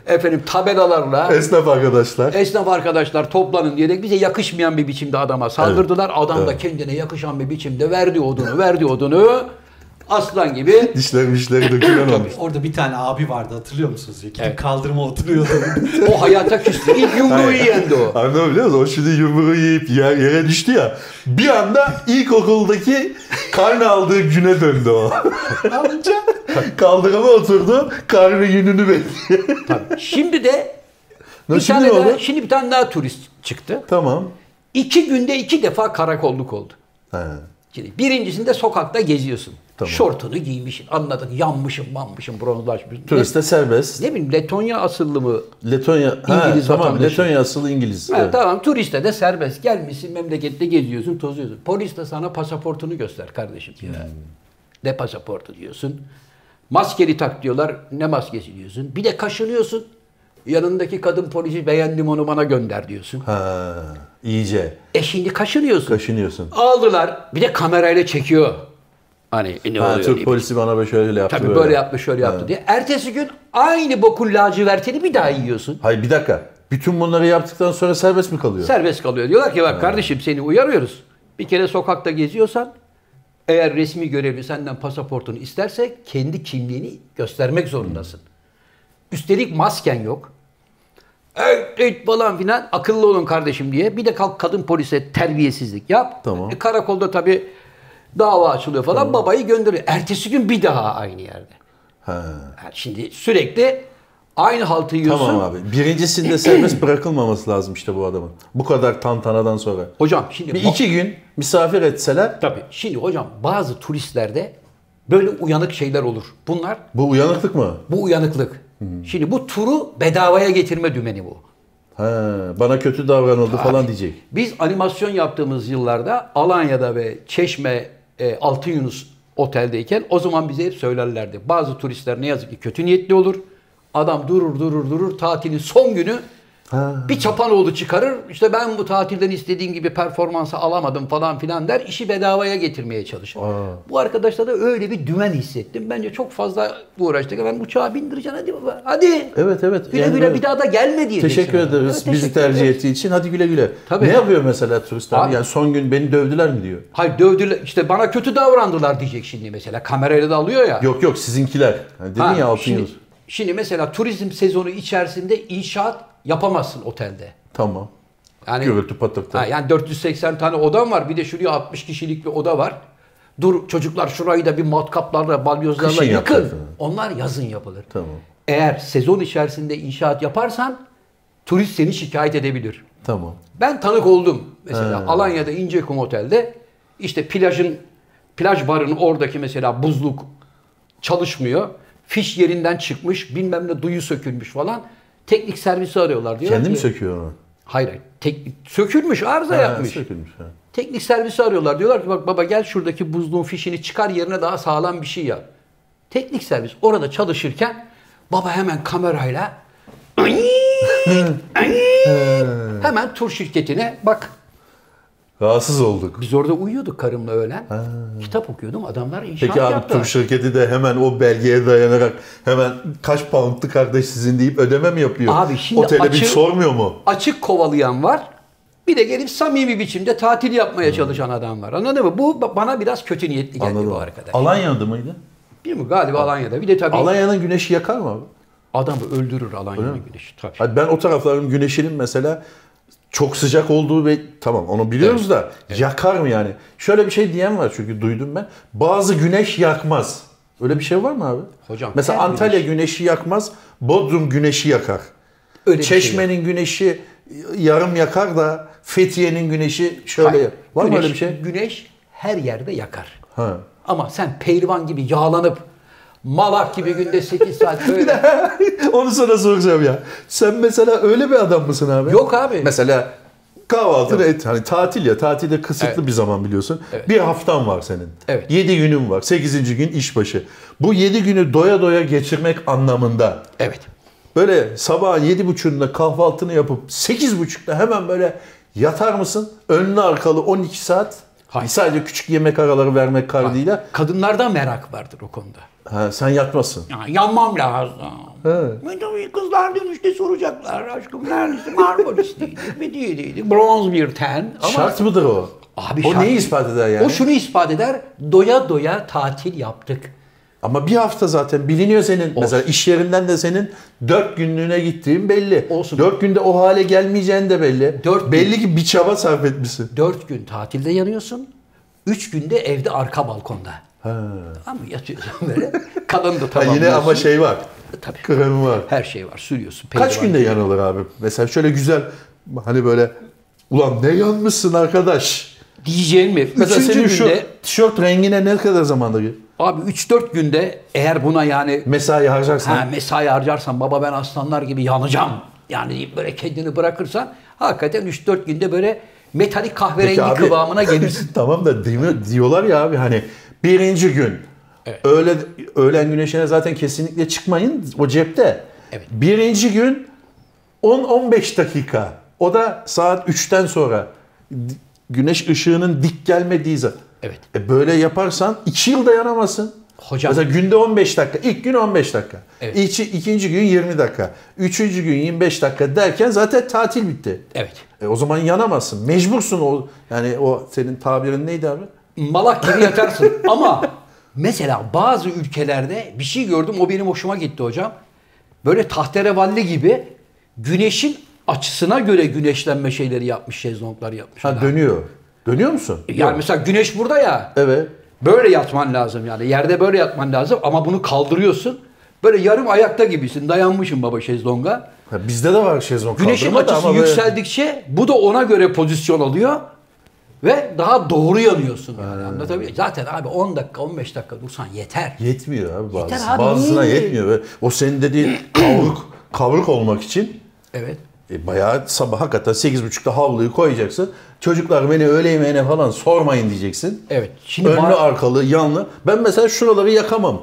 Speaker 1: efendim tabelalarla
Speaker 2: Esnaf arkadaşlar.
Speaker 1: esnaf arkadaşlar toplanın diyerek bize yakışmayan bir biçimde adama saldırdılar. Adam da kendine yakışan bir biçimde verdi odunu, verdi odunu. Aslan gibi
Speaker 2: Dişler mişleri dökülen olmuş.
Speaker 4: Orada bir tane abi vardı hatırlıyor musunuz? Ya? Kim kaldırıma oturuyordu.
Speaker 1: o hayata küstü. İlk yumruğu yiyendi o.
Speaker 2: Abi ne biliyor musun? O şimdi yumruğu yiyip yer- yere düştü ya. Bir anda ilkokuldaki karnı aldığı güne döndü o. Amca kaldırıma oturdu. Karnı gününü bekliyor.
Speaker 1: Tabii. Şimdi de
Speaker 2: Ne
Speaker 1: bir
Speaker 2: şimdi
Speaker 1: tane
Speaker 2: ne
Speaker 1: daha,
Speaker 2: oldu?
Speaker 1: şimdi bir tane daha turist çıktı.
Speaker 2: Tamam.
Speaker 1: İki günde iki defa karakolluk oldu.
Speaker 2: Ha.
Speaker 1: Şimdi birincisinde sokakta geziyorsun.
Speaker 2: Tamam.
Speaker 1: Şortunu giymişsin. Anladın. Yanmışım, manmışım, bronzlaşmışım.
Speaker 2: Turiste serbest.
Speaker 1: Ne, ne bileyim Letonya asıllı mı?
Speaker 2: Letonya.
Speaker 1: İngiliz
Speaker 2: tamam.
Speaker 1: vatandaşı.
Speaker 2: Letonya asılı İngiliz.
Speaker 1: Ha,
Speaker 2: Evet.
Speaker 1: Tamam turiste de serbest. Gelmişsin memlekette geziyorsun, tozuyorsun. Polis de sana pasaportunu göster kardeşim.
Speaker 2: Hmm.
Speaker 1: diyor. Ne pasaportu diyorsun. Maskeni tak diyorlar. Ne maskesi diyorsun. Bir de kaşınıyorsun. Yanındaki kadın polisi beğendim onu bana gönder diyorsun.
Speaker 2: Ha, iyice
Speaker 1: E şimdi kaşınıyorsun.
Speaker 2: kaşınıyorsun.
Speaker 1: Aldılar. Bir de kamerayla çekiyor. Hani e, ne
Speaker 2: Ha,
Speaker 1: oluyor
Speaker 2: Türk
Speaker 1: diye.
Speaker 2: polisi bana böyle şöyle yaptı
Speaker 1: Tabii böyle, yapmış şöyle yaptı diye. Ertesi gün aynı bokun lacivertini bir daha yiyorsun.
Speaker 2: Hayır bir dakika. Bütün bunları yaptıktan sonra serbest mi kalıyor?
Speaker 1: Serbest kalıyor. Diyorlar ki bak kardeşim seni uyarıyoruz. Bir kere sokakta geziyorsan eğer resmi görevli senden pasaportunu isterse kendi kimliğini göstermek zorundasın. Üstelik masken yok. Evet, evet falan filan akıllı olun kardeşim diye. Bir de kalk kadın polise terbiyesizlik yap.
Speaker 2: Tamam.
Speaker 1: E, karakolda tabii dava açılıyor falan babayı gönderiyor. Ertesi gün bir daha aynı yerde.
Speaker 2: Ha.
Speaker 1: Yani şimdi sürekli aynı haltı yiyorsun.
Speaker 2: Tamam abi. Birincisinde serbest bırakılmaması lazım işte bu adamın. Bu kadar tantanadan sonra.
Speaker 1: Hocam şimdi
Speaker 2: Bir
Speaker 1: ba-
Speaker 2: iki gün misafir etseler
Speaker 1: Tabii. Şimdi hocam bazı turistlerde böyle uyanık şeyler olur. Bunlar
Speaker 2: bu uyanıklık mı?
Speaker 1: bu uyanıklık. Şimdi bu turu bedavaya getirme dümeni bu.
Speaker 2: Ha, bana kötü davranıldı falan diyecek.
Speaker 1: Biz animasyon yaptığımız yıllarda Alanya'da ve Çeşme e, Altın Yunus oteldeyken o zaman bize hep söylerlerdi. Bazı turistler ne yazık ki kötü niyetli olur. Adam durur durur durur tatilin son günü bir çapanoğlu çıkarır. İşte ben bu tatilden istediğim gibi performansı alamadım falan filan der. işi bedavaya getirmeye çalışır. Bu arkadaşta da öyle bir dümen hissettim. Bence çok fazla uğraştık. Ben uçağa bindireceğim hadi baba. Hadi.
Speaker 2: Evet evet.
Speaker 1: Güle
Speaker 2: Yani
Speaker 1: güle
Speaker 2: böyle-
Speaker 1: bir daha da gelme diye.
Speaker 2: Teşekkür
Speaker 1: geçiyorum.
Speaker 2: ederiz
Speaker 1: Evet,
Speaker 2: bizi
Speaker 1: teşekkür
Speaker 2: tercih
Speaker 1: ederiz.
Speaker 2: ettiği için. Hadi güle güle.
Speaker 1: Tabii.
Speaker 2: Ne yapıyor mesela turistler?
Speaker 1: Abi-
Speaker 2: Yani son gün beni dövdüler mi diyor.
Speaker 1: Hayır dövdüler işte bana kötü davrandılar diyecek şimdi mesela. Kamerayla da alıyor ya.
Speaker 2: Yok yok sizinkiler. Hani dedin
Speaker 1: Ha,
Speaker 2: ya altın
Speaker 1: şimdi,
Speaker 2: yıl.
Speaker 1: şimdi mesela turizm sezonu içerisinde inşaat yapamazsın otelde.
Speaker 2: Tamam.
Speaker 1: Yani
Speaker 2: Gürültü patırtı.
Speaker 1: Ha, yani 480 tane odam var. Bir de şuraya 60 kişilik bir oda var. Dur çocuklar şurayı da bir matkaplarla, balyozlarla
Speaker 2: Kışın
Speaker 1: yıkın.
Speaker 2: yaparsın.
Speaker 1: Onlar yazın yapılır.
Speaker 2: Tamam.
Speaker 1: Eğer sezon içerisinde inşaat yaparsan turist seni şikayet edebilir.
Speaker 2: Tamam.
Speaker 1: Ben tanık oldum mesela Alanya'da İncekum Otel'de işte plajın plaj barının oradaki mesela buzluk çalışmıyor. Fiş yerinden çıkmış, bilmem ne duyu sökülmüş falan. Teknik servisi arıyorlar diyor.
Speaker 2: Kendi mi söküyor onu?
Speaker 1: Hayır, hayır. Tek, sökülmüş, arıza
Speaker 2: Ha,
Speaker 1: yapmış.
Speaker 2: Sökülmüş. ha.
Speaker 1: Teknik servisi arıyorlar. Diyorlar ki bak baba gel şuradaki buzluğun fişini çıkar yerine daha sağlam bir şey yap. Teknik servis orada çalışırken baba hemen kamerayla hemen tur şirketine bak
Speaker 2: Rahatsız olduk.
Speaker 1: biz orada uyuyorduk karımla öğlen. Kitap okuyordum adamlar inşaat
Speaker 2: Peki abi
Speaker 1: yaptılar.
Speaker 2: tur şirketi de hemen o belgeye dayanarak hemen kaç pound'tu kardeş sizin deyip ödeme mi yapıyor?
Speaker 1: Abi şimdi
Speaker 2: Otele bir
Speaker 1: açı-
Speaker 2: sormuyor mu?
Speaker 1: açık kovalayan var. Bir de gelip samimi biçimde tatil yapmaya çalışan adam var. Anladın mı? Bu ba- bana biraz kötü niyetli geldi
Speaker 2: Hmm. Anladım.
Speaker 1: bu arkadaş.
Speaker 2: Alanya'da mıydı?
Speaker 1: Değil mi? Galiba Alanya'da. Bir de tabii
Speaker 2: Alanya'nın güneşi yakar mı abi?
Speaker 1: adamı öldürür Alanya'nın güneşi. Tabii.
Speaker 2: Hani ben o tarafların güneşinin mesela çok sıcak olduğu ve tamam onu biliyoruz da yakar mı yani? Şöyle bir şey diyen var çünkü duydum ben. Bazı güneş yakmaz. Öyle bir şey var mı abi?
Speaker 1: Hocam,
Speaker 2: Mesela
Speaker 1: her
Speaker 2: Antalya güneşi yakmaz, Bodrum güneşi yakar.
Speaker 1: Öyle bir şey
Speaker 2: Çeşme'nin güneşi yarım yakar da Fethiye'nin güneşi şöyle
Speaker 1: Hayır.
Speaker 2: yakar. Var mı
Speaker 1: Güneş-
Speaker 2: öyle bir şey?
Speaker 1: Güneş her yerde yakar.
Speaker 2: Ha.
Speaker 1: Ama sen pehlivan gibi yağlanıp malak gibi günde 8 saat böyle.
Speaker 2: Onu sana soracağım ya. Sen mesela öyle bir adam mısın abi?
Speaker 1: Yok abi.
Speaker 2: Mesela kahvaltını et. Hani tatil ya. Tatilde kısıtlı
Speaker 1: Evet.
Speaker 2: bir zaman biliyorsun. Bir haftan var senin.
Speaker 1: Evet.
Speaker 2: 7 günün var. 8. gün işbaşı. Bu 7 günü doya doya geçirmek anlamında.
Speaker 1: evet.
Speaker 2: Böyle sabah 7.30'da kahvaltını yapıp 8.30'da hemen böyle yatar mısın? Önlü arkalı 12 saat.
Speaker 1: Hayır.
Speaker 2: Sadece küçük yemek araları vermek kaydıyla.
Speaker 1: Kadınlarda merak vardır o konuda.
Speaker 2: Ha, sen yatmazsın.
Speaker 1: Ya, yanmam lazım. Ben tabii kızlar dönüşte soracaklar. Aşkım neredesin? Marmaris'teydik. Medyedeydik. Bronz bir ten. Ama
Speaker 2: şart mıdır o?
Speaker 1: Abi
Speaker 2: o
Speaker 1: şart-
Speaker 2: neyi ispat eder yani?
Speaker 1: O şunu ispat eder. Doya doya tatil yaptık.
Speaker 2: Ama bir hafta zaten biliniyor senin. Mesela iş yerinden de senin 4 günlüğüne gittiğin belli.
Speaker 1: Olsun.
Speaker 2: 4 günde o hale gelmeyeceğin de belli.
Speaker 1: Dört gün.
Speaker 2: belli ki bir çaba sarf etmişsin.
Speaker 1: 4 gün tatilde yanıyorsun. 3 günde evde arka balkonda. Tamam mı? Yatıyorsun böyle. Kalın da
Speaker 2: Ha,
Speaker 1: tamamlıyorsun.
Speaker 2: yine ama şey var.
Speaker 1: Tabii.
Speaker 2: Kremi var.
Speaker 1: Her şey var. Sürüyorsun.
Speaker 2: Kaç günde yanılır abi? Mesela şöyle güzel hani böyle ulan ne yanmışsın arkadaş.
Speaker 1: Diyeceğin mi?
Speaker 2: Mesela
Speaker 1: Üçüncü
Speaker 2: senin
Speaker 1: günde,
Speaker 2: şu tişört rengine ne kadar zamanda gir-
Speaker 1: abi 3-4 günde eğer buna yani
Speaker 2: mesai harcarsan?
Speaker 1: ha, mesai harcarsan baba ben aslanlar gibi yanacağım. Yani deyip böyle kendini bırakırsan hakikaten 3-4 günde böyle metalik kahverengi
Speaker 2: Peki abi-
Speaker 1: kıvamına gelirsin.
Speaker 2: tamam da değil mi? diyorlar ya abi hani birinci gün öğle, öğlen güneşine zaten kesinlikle çıkmayın o cepte.
Speaker 1: Evet.
Speaker 2: Birinci gün 10-15 dakika. O da saat 3'ten sonra. Güneş ışığının dik gelmediği zaman.
Speaker 1: Evet.
Speaker 2: E böyle yaparsan 2 yıl dayanamazsın.
Speaker 1: Hocam-
Speaker 2: Mesela günde 15 dakika. İlk gün 15 dakika.
Speaker 1: Evet.
Speaker 2: İki, ikinci gün 20 dakika. Üçüncü gün 25 dakika derken zaten tatil bitti.
Speaker 1: Evet.
Speaker 2: E o zaman yanamazsın. Mecbursun o yani o senin tabirin neydi abi?
Speaker 1: Malak gibi yatarsın ama mesela bazı ülkelerde bir şey gördüm o benim hoşuma gitti hocam. Böyle tahterevalli gibi güneşin açısına göre güneşlenme şeyleri yapmış, şezlonglar yapmış.
Speaker 2: Ha
Speaker 1: adam.
Speaker 2: dönüyor. Dönüyor musun?
Speaker 1: E, yani mesela güneş burada ya.
Speaker 2: Evet.
Speaker 1: Böyle yatman lazım yani. Yerde böyle yatman lazım ama bunu kaldırıyorsun. Böyle yarım ayakta gibisin. Dayanmışsın baba şezlonga.
Speaker 2: Ha, bizde de var şezlong
Speaker 1: Güneşin
Speaker 2: kaldırma da
Speaker 1: açısı
Speaker 2: ama böyle-
Speaker 1: yükseldikçe bu da ona göre pozisyon alıyor. Ve daha doğru yanıyorsun yani. Anlatabiliyor muyum? Zaten abi 10 dakika 15 dakika dursan yeter.
Speaker 2: Yetmiyor abi bazısı.
Speaker 1: Yeter abi,
Speaker 2: Bazısına
Speaker 1: niye?
Speaker 2: yetmiyor. Böyle O senin dediğin kavruk, kavruk olmak için
Speaker 1: Evet.
Speaker 2: e, bayağı sabah hakikaten 8.30'da havluyu koyacaksın. Çocuklar beni öğle yemeğine falan sormayın diyeceksin.
Speaker 1: Evet. Şimdi
Speaker 2: Önlü
Speaker 1: ba-
Speaker 2: arkalı yanlı. Ben mesela şuraları yakamam.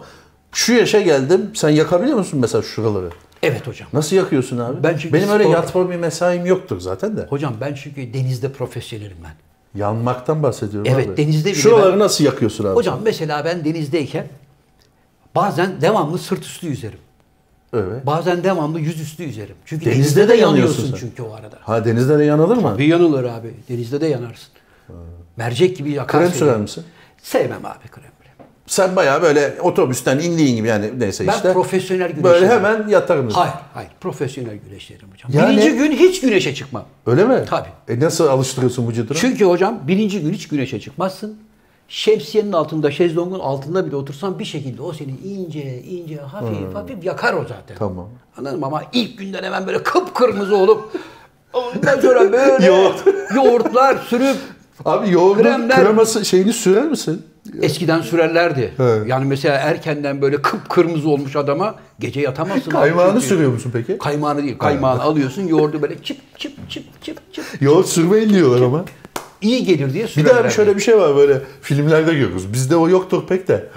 Speaker 2: Şu yaşa geldim. Sen yakabiliyor musun mesela şuraları?
Speaker 1: Evet hocam.
Speaker 2: Nasıl yakıyorsun abi?
Speaker 1: Ben çünkü
Speaker 2: Benim öyle
Speaker 1: spor-
Speaker 2: yatma bir mesaim yoktur zaten de.
Speaker 1: Hocam ben çünkü denizde profesyonelim ben.
Speaker 2: Yanmaktan bahsediyorum
Speaker 1: Evet,
Speaker 2: abi.
Speaker 1: denizde bile
Speaker 2: Şuraları
Speaker 1: ben-
Speaker 2: nasıl yakıyorsun abi?
Speaker 1: Hocam mesela ben denizdeyken bazen devamlı sırt üstü yüzerim.
Speaker 2: Evet.
Speaker 1: Bazen devamlı yüz üstü yüzerim. Çünkü
Speaker 2: Denizde
Speaker 1: denizde,
Speaker 2: de
Speaker 1: de
Speaker 2: yanıyorsun
Speaker 1: yanıyorsun
Speaker 2: sen.
Speaker 1: çünkü o arada.
Speaker 2: Ha denizde de yanılır mı?
Speaker 1: Bir yanılır abi. Denizde de yanarsın. Mercek gibi yakarsın.
Speaker 2: Krem sürer misin?
Speaker 1: Sevmem abi krem.
Speaker 2: Sen bayağı böyle otobüsten indiğin gibi yani neyse
Speaker 1: Ben
Speaker 2: işte.
Speaker 1: profesyonel güneşim.
Speaker 2: Böyle hemen yatarım. dedim.
Speaker 1: Hayır, hayır. Profesyonel güneşlerim hocam.
Speaker 2: Yani-
Speaker 1: Birinci gün hiç güneşe çıkmam.
Speaker 2: Öyle mi?
Speaker 1: Tabii.
Speaker 2: E nasıl alıştırıyorsun vücudunu?
Speaker 1: Çünkü hocam birinci gün hiç güneşe çıkmazsın. Şemsiyenin altında, şezlongun altında bile otursan bir şekilde o seni ince ince hafif hafif yakar o zaten.
Speaker 2: Hmm. Tamam.
Speaker 1: Anladın mı? Ama ilk günden hemen böyle kıpkırmızı olup ondan sonra böyle
Speaker 2: Yoğurt.
Speaker 1: yoğurtlar sürüp
Speaker 2: Abi yoğurdun
Speaker 1: Kremler-
Speaker 2: kreması şeyini sürer misin?
Speaker 1: eskiden sürerlerdi.
Speaker 2: Evet.
Speaker 1: Yani mesela erkenden böyle kıpkırmızı olmuş adama gece yatamazsın. abi
Speaker 2: Kaymağını
Speaker 1: çünkü.
Speaker 2: sürüyor musun peki?
Speaker 1: Kaymağını değil, kaymağını alıyorsun, yoğurdu böyle çıp çıp çıp çıp çıp.
Speaker 2: Yoğurt sürmeyin diyorlar ama.
Speaker 1: İyi gelir diye
Speaker 2: Bir
Speaker 1: sürerler.
Speaker 2: daha bir şöyle bir şey var böyle filmlerde görürüz. Bizde o yoktur pek de.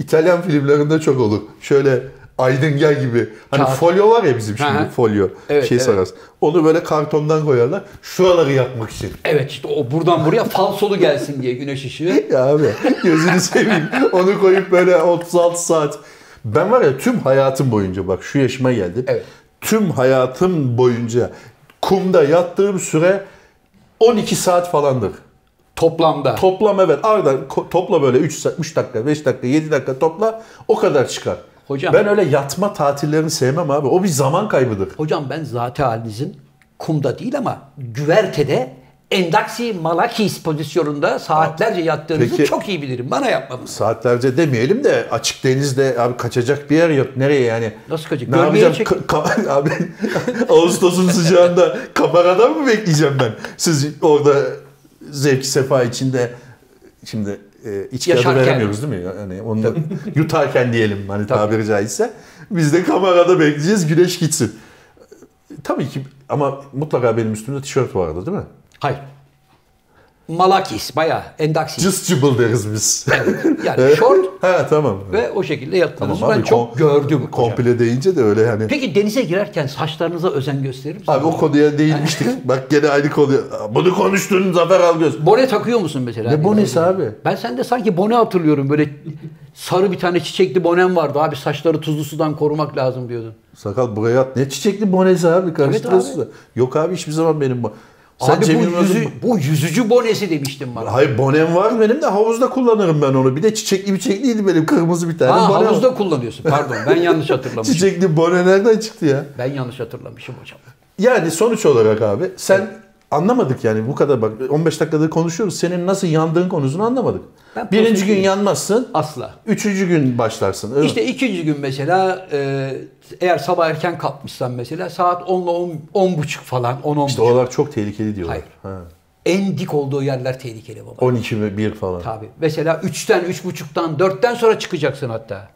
Speaker 2: İtalyan filmlerinde çok olur. Şöyle Aydıngel gibi. Hani
Speaker 1: Kağıt.
Speaker 2: folyo var ya bizim şimdi
Speaker 1: Hı hı.
Speaker 2: folyo.
Speaker 1: Evet,
Speaker 2: şey
Speaker 1: evet.
Speaker 2: sararız. Onu böyle kartondan koyarlar. Şuraları yapmak için.
Speaker 1: Evet işte o buradan buraya falsolu gelsin diye güneş ışığı.
Speaker 2: Ya abi gözünü seveyim. Onu koyup böyle 36 saat. Ben var ya tüm hayatım boyunca bak şu yaşıma geldim.
Speaker 1: Evet.
Speaker 2: Tüm hayatım boyunca kumda yattığım süre 12 saat falandır.
Speaker 1: Toplamda.
Speaker 2: Toplam evet arada ko- topla böyle 3 3 dakika, 5 dakika, 7 dakika topla o kadar çıkar.
Speaker 1: Hocam-
Speaker 2: Ben öyle yatma tatillerini sevmem abi. O bir zaman kaybıdır.
Speaker 1: Hocam ben zat halinizin kumda değil ama güvertede endaksi malakis pozisyonunda saatlerce yattığınızı
Speaker 2: Peki.
Speaker 1: çok iyi bilirim. Bana yapmamız.
Speaker 2: Saatlerce demeyelim de açık denizde abi kaçacak bir yer yok. Nereye yani?
Speaker 1: Nasıl kaçacak?
Speaker 2: Ne
Speaker 1: Gölgeye
Speaker 2: yapacağım?
Speaker 1: çek-
Speaker 2: Ka- ka- abi Ağustos'un sıcağında kameradan mı bekleyeceğim ben? Siz orada zevk sefa içinde şimdi e, içki adı
Speaker 1: Yaşarken.
Speaker 2: veremiyoruz değil mi? Yani onu da yutarken diyelim hani tabiri caizse. Biz de kamerada bekleyeceğiz güneş gitsin. Tabii ki ama mutlaka benim üstümde tişört vardı değil mi?
Speaker 1: Hayır. Malakis bayağı endaksi.
Speaker 2: Cız cıbıl deriz biz.
Speaker 1: Yani şort
Speaker 2: ha tamam.
Speaker 1: ve o şekilde yattığınızı
Speaker 2: Tamam
Speaker 1: ben
Speaker 2: abi,
Speaker 1: çok
Speaker 2: kom-
Speaker 1: gördüm hocam.
Speaker 2: Komple deyince de öyle yani.
Speaker 1: Peki denize girerken saçlarınıza özen gösterir misiniz?
Speaker 2: Abi o konuya değinmiştik. Bak gene aynı konuya. Bunu konuştun Zafer Algöz.
Speaker 1: Bone takıyor musun mesela?
Speaker 2: Ne bonesi abi?
Speaker 1: Ben sende sanki bone hatırlıyorum. Böyle sarı bir tane çiçekli bonem vardı. Abi saçları tuzlu sudan korumak lazım diyordun.
Speaker 2: Sakal buraya at. Ne çiçekli bonesi abi karıştırıyorsun
Speaker 1: Evet
Speaker 2: da. Yok abi hiçbir zaman benim bu. Sen
Speaker 1: abi
Speaker 2: Cem
Speaker 1: bu,
Speaker 2: Yılmaz'ın-
Speaker 1: yüzü, bu yüzücü bonesi demiştin bana.
Speaker 2: Hayır bonem var benim de havuzda kullanırım ben onu. Bir de çiçekli bir çiçekliydi benim kırmızı bir tane.
Speaker 1: ha
Speaker 2: bonem.
Speaker 1: havuzda kullanıyorsun. Pardon ben yanlış hatırlamışım.
Speaker 2: Çiçekli bone nereden çıktı ya?
Speaker 1: Ben yanlış hatırlamışım hocam.
Speaker 2: Yani sonuç olarak abi sen anlamadık yani bu kadar bak 15 dakikadır konuşuyoruz. Senin nasıl yandığın konusunu anlamadık.
Speaker 1: Ben
Speaker 2: Birinci gün
Speaker 1: profesyonel-
Speaker 2: yanmazsın.
Speaker 1: Asla.
Speaker 2: Üçüncü gün başlarsın. öyle mi?
Speaker 1: İşte ikinci gün mesela e, eğer sabah erken kalkmışsan mesela saat 10 ile 10, 10 buçuk falan 10 10
Speaker 2: İşte oralar çok tehlikeli diyorlar.
Speaker 1: Hayır.
Speaker 2: Ha.
Speaker 1: En dik olduğu yerler tehlikeli baba.
Speaker 2: 12 ve 1 falan.
Speaker 1: Tabii. Mesela 3'ten, 3.5'tan, 4'ten sonra çıkacaksın hatta.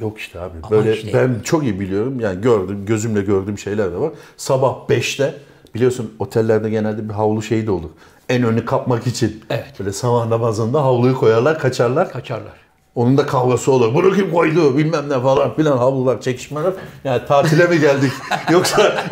Speaker 2: Yok işte abi.
Speaker 1: Ama
Speaker 2: Böyle
Speaker 1: işte.
Speaker 2: ben çok iyi biliyorum. Yani gördüm, gözümle gördüğüm şeyler de var. Sabah 5'te biliyorsun otellerde genelde bir havlu şeyi de olur. En önü kapmak için.
Speaker 1: Evet.
Speaker 2: Böyle sabah namazında havluyu koyarlar, kaçarlar.
Speaker 1: Kaçarlar.
Speaker 2: Onun da kavgası olur. Bunu kim koydu bilmem ne falan filan havlular, çekişmeler. Yani tatile mi geldik? Yoksa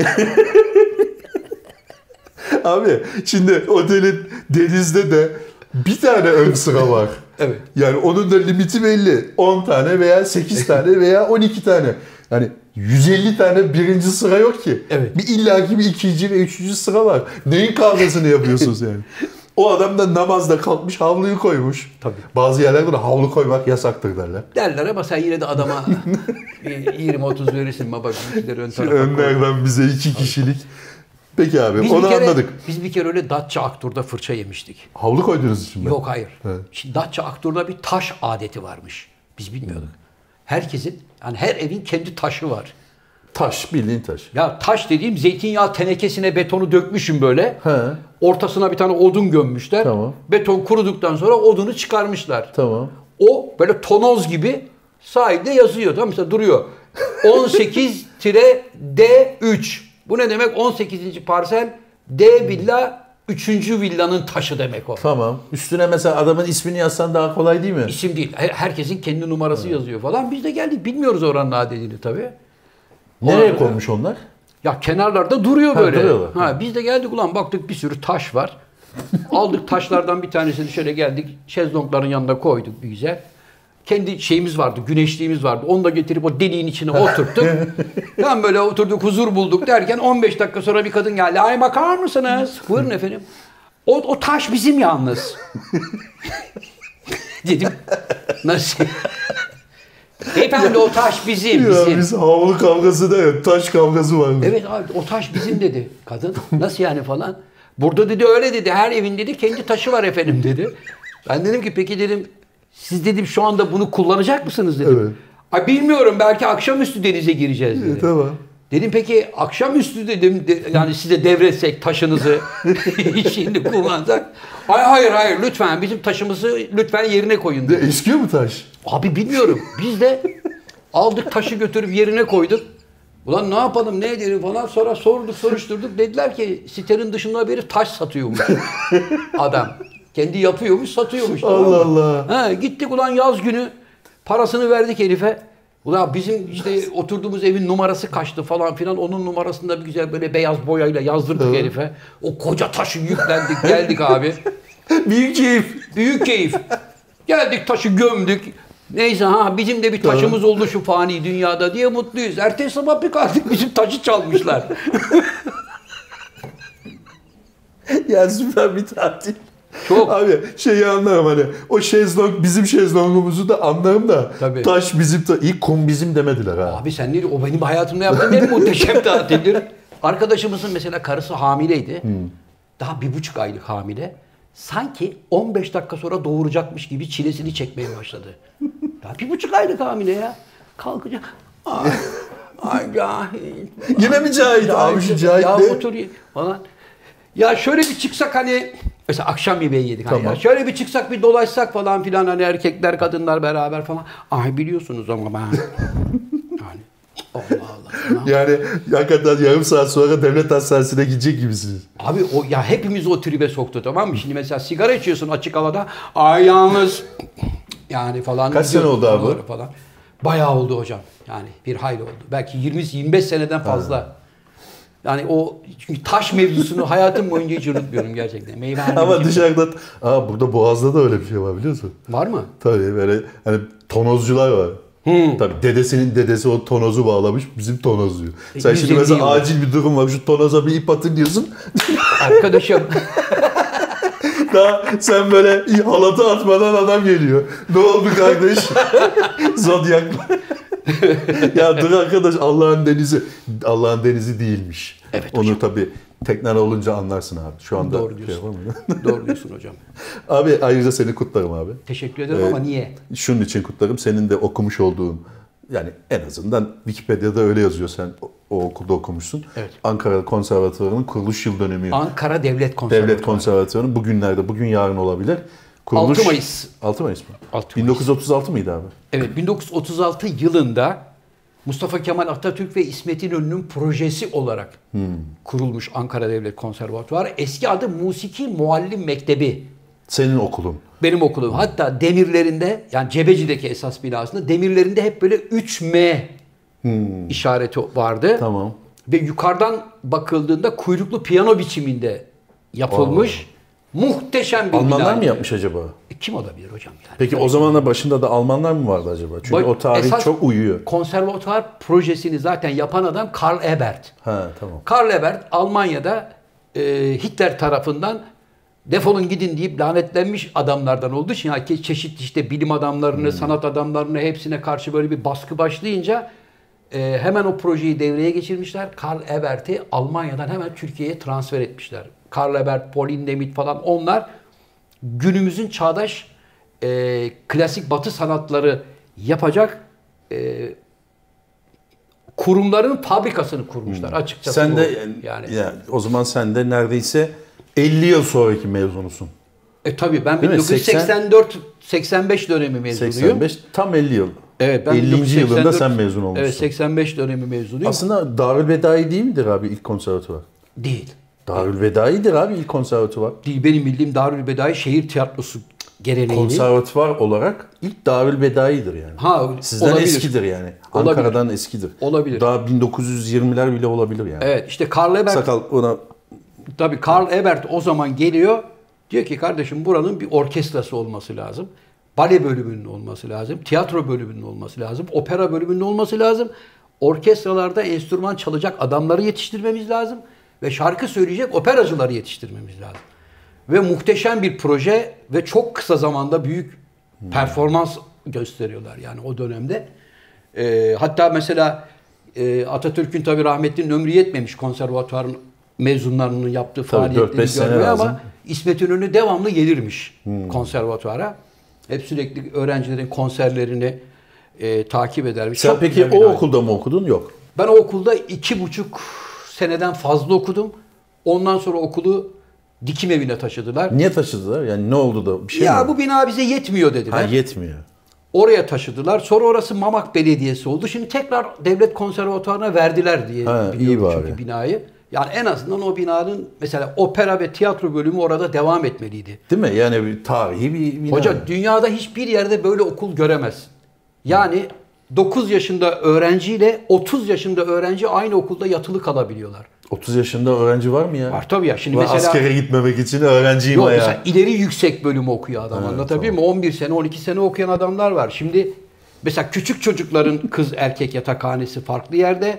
Speaker 2: Abi şimdi otelin denizde de bir tane ön sıra var.
Speaker 1: Evet.
Speaker 2: Yani onun da limiti belli. 10 tane veya 8 tane veya 12 tane. Yani 150 tane birinci sıra yok ki.
Speaker 1: Evet.
Speaker 2: Bir illaki bir ikinci ve üçüncü sıra var. Neyin kavgasını yapıyorsunuz yani? O adam da namazda kalkmış havluyu koymuş.
Speaker 1: Tabii.
Speaker 2: Bazı yerlerde de havlu koymak yasaktır derler.
Speaker 1: Derler ama sen yine de adama bir 20-30 verirsin baba bizimkileri ön tarafa koy.
Speaker 2: Önlerden bize iki kişilik. Peki abi
Speaker 1: Biz
Speaker 2: onu
Speaker 1: bir kere,
Speaker 2: anladık.
Speaker 1: Biz bir kere öyle Datça Aktur'da fırça yemiştik.
Speaker 2: Havlu koydunuz için mi?
Speaker 1: Yok hayır.
Speaker 2: Evet.
Speaker 1: Şimdi Datça Aktur'da bir taş adeti varmış. Biz bilmiyorduk. Herkesin, yani her evin kendi taşı var.
Speaker 2: Taş bildiğin taş.
Speaker 1: Ya taş dediğim zeytinyağı tenekesine betonu dökmüşüm böyle.
Speaker 2: He.
Speaker 1: Ortasına bir tane odun gömmüşler.
Speaker 2: Tamam.
Speaker 1: Beton kuruduktan sonra odunu çıkarmışlar.
Speaker 2: Tamam.
Speaker 1: O böyle tonoz gibi sahilde yazıyor. Tamam mı? mesela duruyor. 18-D3. Bu ne demek? 18. parsel D villa 3. villanın taşı demek o.
Speaker 2: Tamam. Üstüne mesela adamın ismini yazsan daha kolay değil mi?
Speaker 1: İsim değil. Her- herkesin kendi numarası yazıyor falan. Biz de geldik. Bilmiyoruz oranın adetini tabii.
Speaker 2: Nereye
Speaker 1: Ona-
Speaker 2: koymuş onlar?
Speaker 1: Ya kenarlarda duruyor
Speaker 2: Ha,
Speaker 1: böyle.
Speaker 2: duruyorlar.
Speaker 1: Ha, biz de geldik ulan baktık bir sürü taş var. Aldık taşlardan bir tanesini şöyle geldik. Şezlongların yanına koyduk bir güzel. Kendi şeyimiz vardı, güneşliğimiz vardı. Onu da getirip o deliğin içine oturttuk. Tam böyle oturduk, huzur bulduk derken 15 dakika sonra bir kadın geldi. Ay bakar mısınız? Buyurun efendim. O, o taş bizim yalnız. Dedim. Nasıl? Beyefendi o taş bizim, bizim.
Speaker 2: Ya biz havlu kavgası da yok, taş kavgası var.
Speaker 1: Evet abi o taş bizim dedi kadın. Nasıl yani falan. Burada dedi öyle dedi. Her evin dedi kendi taşı var efendim dedi. Ben dedim ki peki dedim siz dedim şu anda bunu kullanacak mısınız dedim.
Speaker 2: Evet.
Speaker 1: Ay bilmiyorum belki akşamüstü denize gireceğiz dedi.
Speaker 2: Tamam.
Speaker 1: Dedim peki akşamüstü dedim de- yani size devretsek taşınızı şimdi kullansak. Ay hayır hayır lütfen bizim taşımızı lütfen yerine koyun dedi.
Speaker 2: De eskiyor mu taş?
Speaker 1: Abi bilmiyorum. Biz de aldık taşı götürüp yerine koyduk. Ulan ne yapalım ne edelim falan sonra sorduk soruşturduk. Dediler ki sitenin dışında biri taş satıyormuş adam. Kendi yapıyormuş satıyormuş. tamam mı?
Speaker 2: Allah Allah.
Speaker 1: Ha, gittik ulan yaz günü parasını verdik herife. Ulan bizim işte oturduğumuz evin numarası kaçtı falan filan. Onun numarasını da bir güzel böyle beyaz boyayla yazdırdık herife. O koca taşı yüklendik geldik abi.
Speaker 2: Büyük keyif.
Speaker 1: Büyük keyif. Geldik taşı gömdük. Neyse ha bizim de bir taşımız oldu şu fani dünyada diye mutluyuz. Ertesi sabah bir kalktık bizim taşı çalmışlar.
Speaker 2: Ya süper bir tatil.
Speaker 1: Çok.
Speaker 2: Abi şeyi anlarım hani o şezlong bizim şezlongumuzu da anlarım da
Speaker 1: Tabii.
Speaker 2: taş bizim ta ilk kum bizim demediler ha.
Speaker 1: Abi sen ne O benim hayatımda yaptığım en muhteşem tatildir. Arkadaşımızın mesela karısı hamileydi. Daha bir buçuk aylık hamile. Sanki 15 dakika sonra doğuracakmış gibi çilesini çekmeye başladı. Daha bir buçuk aylık hamile ya. Kalkacak. Ay, ay cahil.
Speaker 2: Yine mi Cahit? Abi şu Cahit
Speaker 1: ya
Speaker 2: ne?
Speaker 1: otur ye- falan. Ya şöyle bir çıksak hani mesela akşam yemeği yedik. Hani
Speaker 2: Tamam.
Speaker 1: ya şöyle bir çıksak bir dolaşsak falan filan hani erkekler kadınlar beraber falan. Ay biliyorsunuz ama ben. yani Allah Allah.
Speaker 2: Yani hakikaten yarım saat sonra devlet hastanesine gidecek gibisiniz.
Speaker 1: Abi o ya hepimiz o tribe soktu tamam mı? Şimdi mesela sigara içiyorsun açık havada. Ay yalnız yani falan.
Speaker 2: Kaç sene oldu abi?
Speaker 1: Oraları Falan. Bayağı oldu hocam. Yani bir hayli oldu. Belki 20-25 seneden fazla. Yani o çünkü taş mevzusunu hayatım boyunca hiç unutmuyorum gerçekten. Meyve
Speaker 2: Ama
Speaker 1: halindeki-
Speaker 2: dışarıda, aa burada Boğaz'da da öyle bir şey var biliyor musun?
Speaker 1: Var mı?
Speaker 2: Tabii böyle hani tonozcular var. Tabii dedesinin dedesi o tonozu bağlamış bizim tonoz diyor. Sen şimdi
Speaker 1: 150
Speaker 2: mesela
Speaker 1: yıl.
Speaker 2: acil bir durum var şu tonoza bir ip atın diyorsun.
Speaker 1: Arkadaşım
Speaker 2: Daha sen böyle halatı atmadan adam geliyor. Ne oldu kardeş? Zodyak ya dur arkadaş Allah'ın denizi Allah'ın denizi değilmiş.
Speaker 1: Evet
Speaker 2: Onu tabii teknen olunca anlarsın abi. Şu anda
Speaker 1: Doğru diyorsun.
Speaker 2: şey yapamıyorum.
Speaker 1: doğru diyorsun hocam.
Speaker 2: abi ayrıca seni kutlarım abi.
Speaker 1: Teşekkür ederim ama niye?
Speaker 2: Şunun için kutlarım. Senin de okumuş olduğun yani en azından Wikipedia'da öyle yazıyor sen o, o okulda okumuşsun.
Speaker 1: Evet.
Speaker 2: Ankara Konservatuvarı'nın kuruluş yıl dönümü.
Speaker 1: Ankara Devlet Konservatuvarı.
Speaker 2: Devlet Konservatuvarı'nın bugünlerde, bugün yarın olabilir. Kuruluş,
Speaker 1: 6 Mayıs.
Speaker 2: 6 Mayıs mı?
Speaker 1: 6 Mayıs.
Speaker 2: 1936 mıydı abi?
Speaker 1: Evet 1936 yılında Mustafa Kemal Atatürk ve İsmet İnönü'nün projesi olarak kurulmuş Ankara Devlet Konservatuvarı. Eski adı Musiki Muallim Mektebi.
Speaker 2: Senin okulun.
Speaker 1: Benim okulum. Hatta demirlerinde yani Cebeci'deki esas binasında demirlerinde hep böyle 3M işareti vardı.
Speaker 2: Tamam.
Speaker 1: Ve yukarıdan bakıldığında kuyruklu piyano biçiminde yapılmış muhteşem bir
Speaker 2: Almanlar
Speaker 1: bina.
Speaker 2: mı yapmış acaba?
Speaker 1: E, Kim olabilir hocam yani?
Speaker 2: Peki o zaman da başında da Almanlar mı vardı acaba? Çünkü
Speaker 1: Bak,
Speaker 2: o tarih
Speaker 1: esas
Speaker 2: çok uyuyor.
Speaker 1: Konservatuar projesini zaten yapan adam Karl Ebert.
Speaker 2: Ha tamam.
Speaker 1: Karl Ebert Almanya'da e, Hitler tarafından defolun gidin deyip lanetlenmiş adamlardan olduğu için yani ke- çeşitli işte bilim adamlarını, sanat adamlarını hepsine karşı böyle bir baskı başlayınca e, hemen o projeyi devreye geçirmişler. Karl Ebert'i Almanya'dan hemen Türkiye'ye transfer etmişler. Karl Ebert, Pauline Lemit falan onlar günümüzün çağdaş e, klasik batı sanatları yapacak e, kurumların fabrikasını kurmuşlar açıkçası.
Speaker 2: Hmm. Sen
Speaker 1: bu.
Speaker 2: de yani, o zaman sen de neredeyse 50 yıl sonraki mezunusun.
Speaker 1: E tabii ben
Speaker 2: Değil mi?
Speaker 1: 1984 85 dönemi mezunuyum.
Speaker 2: 85 tam 50 yıl.
Speaker 1: Evet ben
Speaker 2: 50. yılında
Speaker 1: 1984
Speaker 2: sen mezun olmuşsun.
Speaker 1: Evet 85 dönemi mezunuyum.
Speaker 2: Aslında Darülbedai değil midir abi ilk konservatuvar?
Speaker 1: değil.
Speaker 2: Darülbedai'dir abi ilk konservatuvar.
Speaker 1: Değil benim bildiğim Darülbedai Şehir Tiyatrosu geleneğini.
Speaker 2: Konservatuvar olarak ilk Darülbedai'dir yani.
Speaker 1: ha
Speaker 2: Sizden
Speaker 1: olabilir.
Speaker 2: eskidir yani.
Speaker 1: Olabilir.
Speaker 2: Ankara'dan eskidir.
Speaker 1: Olabilir.
Speaker 2: Daha 1920'ler bile olabilir yani.
Speaker 1: Evet işte Karl Ebert
Speaker 2: Sakal ona
Speaker 1: Tabii Karl Ebert o zaman geliyor. Diyor ki kardeşim buranın bir orkestrası olması lazım. Bale bölümünün olması lazım. Tiyatro bölümünün olması lazım. Opera bölümünün olması lazım. Orkestralarda enstrüman çalacak adamları yetiştirmemiz lazım. Ve şarkı söyleyecek operacıları yetiştirmemiz lazım. Ve muhteşem bir proje ve çok kısa zamanda büyük performans gösteriyorlar yani o dönemde. Ee, hatta mesela e, Atatürk'ün tabii rahmetlinin ömrü yetmemiş konservatuar mezunlarının yaptığı
Speaker 2: dört, beş
Speaker 1: faaliyetleri
Speaker 2: sene
Speaker 1: görmüyor
Speaker 2: lazım. Hmm.
Speaker 1: ama İsmet İnönü devamlı gelirmiş konservatuara. Hep sürekli öğrencilerin konserlerini e, takip edermiş.
Speaker 2: Sen
Speaker 1: Çok
Speaker 2: peki
Speaker 1: güzel
Speaker 2: o
Speaker 1: bir aile.
Speaker 2: okulda mı okudun? Yok.
Speaker 1: Ben o okulda iki buçuk seneden fazla okudum. Ondan sonra okulu dikim evine taşıdılar.
Speaker 2: Niye taşıdılar? Yani ne oldu da bir şey
Speaker 1: ya
Speaker 2: mi?
Speaker 1: bu bina bize yetmiyor dediler.
Speaker 2: Ha yetmiyor.
Speaker 1: Oraya taşıdılar. Sonra orası Mamak Belediyesi oldu. Şimdi tekrar Devlet Konservatuvarı'na verdiler diye
Speaker 2: Ha,
Speaker 1: biliyorum
Speaker 2: iyi
Speaker 1: çünkü
Speaker 2: bari.
Speaker 1: binayı. Yani en azından o binanın mesela opera ve tiyatro bölümü orada devam etmeliydi.
Speaker 2: Değil mi? Yani bir tarihi bir bina.
Speaker 1: Hoca dünyada hiçbir yerde böyle okul göremezsin. Yani 9 yaşında öğrenciyle 30 yaşında öğrenci aynı okulda yatılı kalabiliyorlar.
Speaker 2: 30 yaşında öğrenci var mı ya?
Speaker 1: Var tabii ya. Şimdi
Speaker 2: Ulan
Speaker 1: mesela
Speaker 2: askere gitmemek için öğrenciyim
Speaker 1: Yok
Speaker 2: ya.
Speaker 1: mesela ileri yüksek bölümü okuyor adam anlatabiliyor muyum? 11 sene 12 sene okuyan adamlar var. Şimdi mesela küçük çocukların kız erkek yatakhanesi farklı yerde.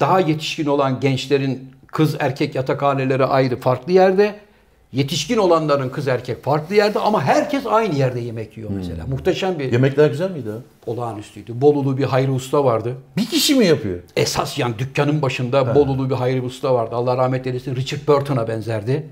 Speaker 1: Daha yetişkin olan gençlerin kız erkek yatakhaneleri ayrı farklı yerde. Yetişkin olanların kız erkek farklı yerde ama herkes aynı yerde yemek yiyor mesela. Muhteşem bir
Speaker 2: Yemekler güzel miydi abi?
Speaker 1: olağanüstüydü. Bolulu bir Hayri Usta vardı.
Speaker 2: Bir kişi mi yapıyor?
Speaker 1: Esas yani dükkanın başında Bolulu bir Hayri Usta vardı. Allah rahmet eylesin Richard Burton'a benzerdi.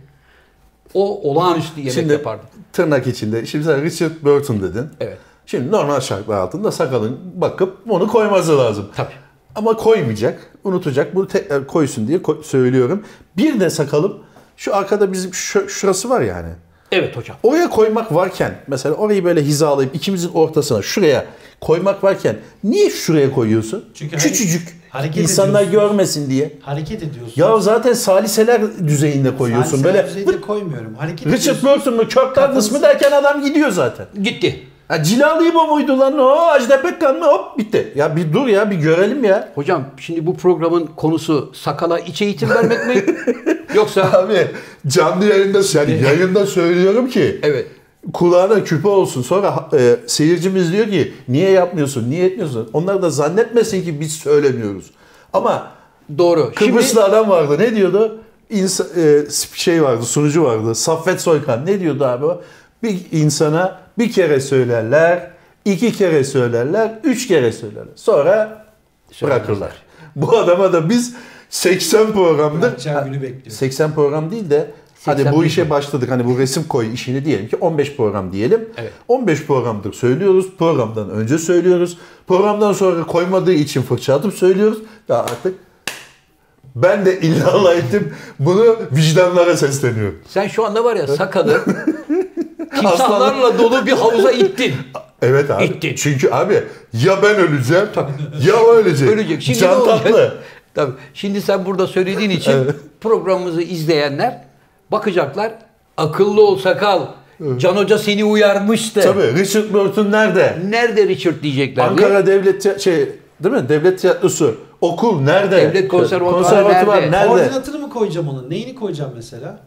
Speaker 1: O olağanüstü yemek
Speaker 2: şimdi
Speaker 1: yapardı.
Speaker 2: tırnak içinde. Şimdi sen Richard Burton dedin.
Speaker 1: Evet.
Speaker 2: Şimdi normal şartlar altında sakalın bakıp onu koyması lazım.
Speaker 1: Tabii.
Speaker 2: Ama koymayacak, unutacak. Bunu tekrar koysun diye ko- söylüyorum. Bir de sakalım şu arkada bizim şu- şurası var yani.
Speaker 1: Evet hocam.
Speaker 2: Oraya koymak varken mesela orayı böyle hizalayıp ikimizin ortasına şuraya koymak varken niye şuraya koyuyorsun?
Speaker 4: Çünkü
Speaker 2: Küçücük.
Speaker 4: hare- hareket
Speaker 2: insanlar
Speaker 4: ediyorsun.
Speaker 2: görmesin diye.
Speaker 4: Hareket ediyorsun.
Speaker 2: Ya zaten saliseler düzeyinde koyuyorsun
Speaker 4: Saniye
Speaker 2: böyle.
Speaker 4: düzeyde koymuyorum. Hareket
Speaker 2: Richard
Speaker 4: ediyorsun.
Speaker 2: Burton mu Kirk Douglas mı derken adam gidiyor zaten.
Speaker 1: Gitti.
Speaker 2: Ha, cilalı bu muydu lan o Ajda Pekkan mı hop bitti. Ya bir dur ya bir görelim ya.
Speaker 1: Hocam şimdi bu programın konusu sakala iç eğitim vermek mi? Yoksa
Speaker 2: Abi canlı yayında yani yayında söylüyorum ki.
Speaker 1: evet.
Speaker 2: kulağına küpe olsun. Sonra e, seyircimiz diyor ki niye yapmıyorsun, niye etmiyorsun? Onlar da zannetmesin ki biz söylemiyoruz. Ama
Speaker 1: Doğru.
Speaker 2: Kıbrıslı
Speaker 1: Şimdi
Speaker 2: adam vardı ne diyordu? İnsa, e, şey vardı, sunucu vardı. Saffet Soykan ne diyordu abi o? Bir insana bir kere söylerler, iki kere söylerler, üç kere söylerler. Sonra bırakırlar. şey. Bu adama da biz 80 programdır
Speaker 4: Bırakacağı günü bekliyoruz.
Speaker 2: 80 program değil de
Speaker 1: 80
Speaker 2: hadi bu
Speaker 1: değil
Speaker 2: işe başladık hani bu resim koy işini diyelim ki 15 program diyelim.
Speaker 1: Evet.
Speaker 2: 15 programdır söylüyoruz. Programdan önce söylüyoruz. Programdan sonra koymadığı için fırça atıp söylüyoruz. Daha artık ben de illallah ettim. Bunu vicdanlara sesleniyorum.
Speaker 1: sen şu anda var ya sakalı
Speaker 2: Aslanlar-
Speaker 1: timsahlarla dolu bir havuza ittin.
Speaker 2: Evet abi.
Speaker 1: Ettin.
Speaker 2: Çünkü abi ya ben öleceğim ya o ölecek.
Speaker 1: Ölecek. Şimdi ne
Speaker 2: Can
Speaker 1: olacak?
Speaker 2: tatlı.
Speaker 1: Tabii. Şimdi sen burada söylediğin için programımızı izleyenler bakacaklar. Akıllı ol sakal. Can Hoca seni uyarmıştı.
Speaker 2: Tabii Richard Burton nerede?
Speaker 1: Nerede Richard diyecekler diye.
Speaker 2: Ankara Devlet Tiy- şey değil mi? Devlet Tiyatrosu. Okul nerede?
Speaker 1: Devlet Konservatuvarı nerede?
Speaker 4: Koordinatını mı koyacağım onun? Neyini koyacağım mesela?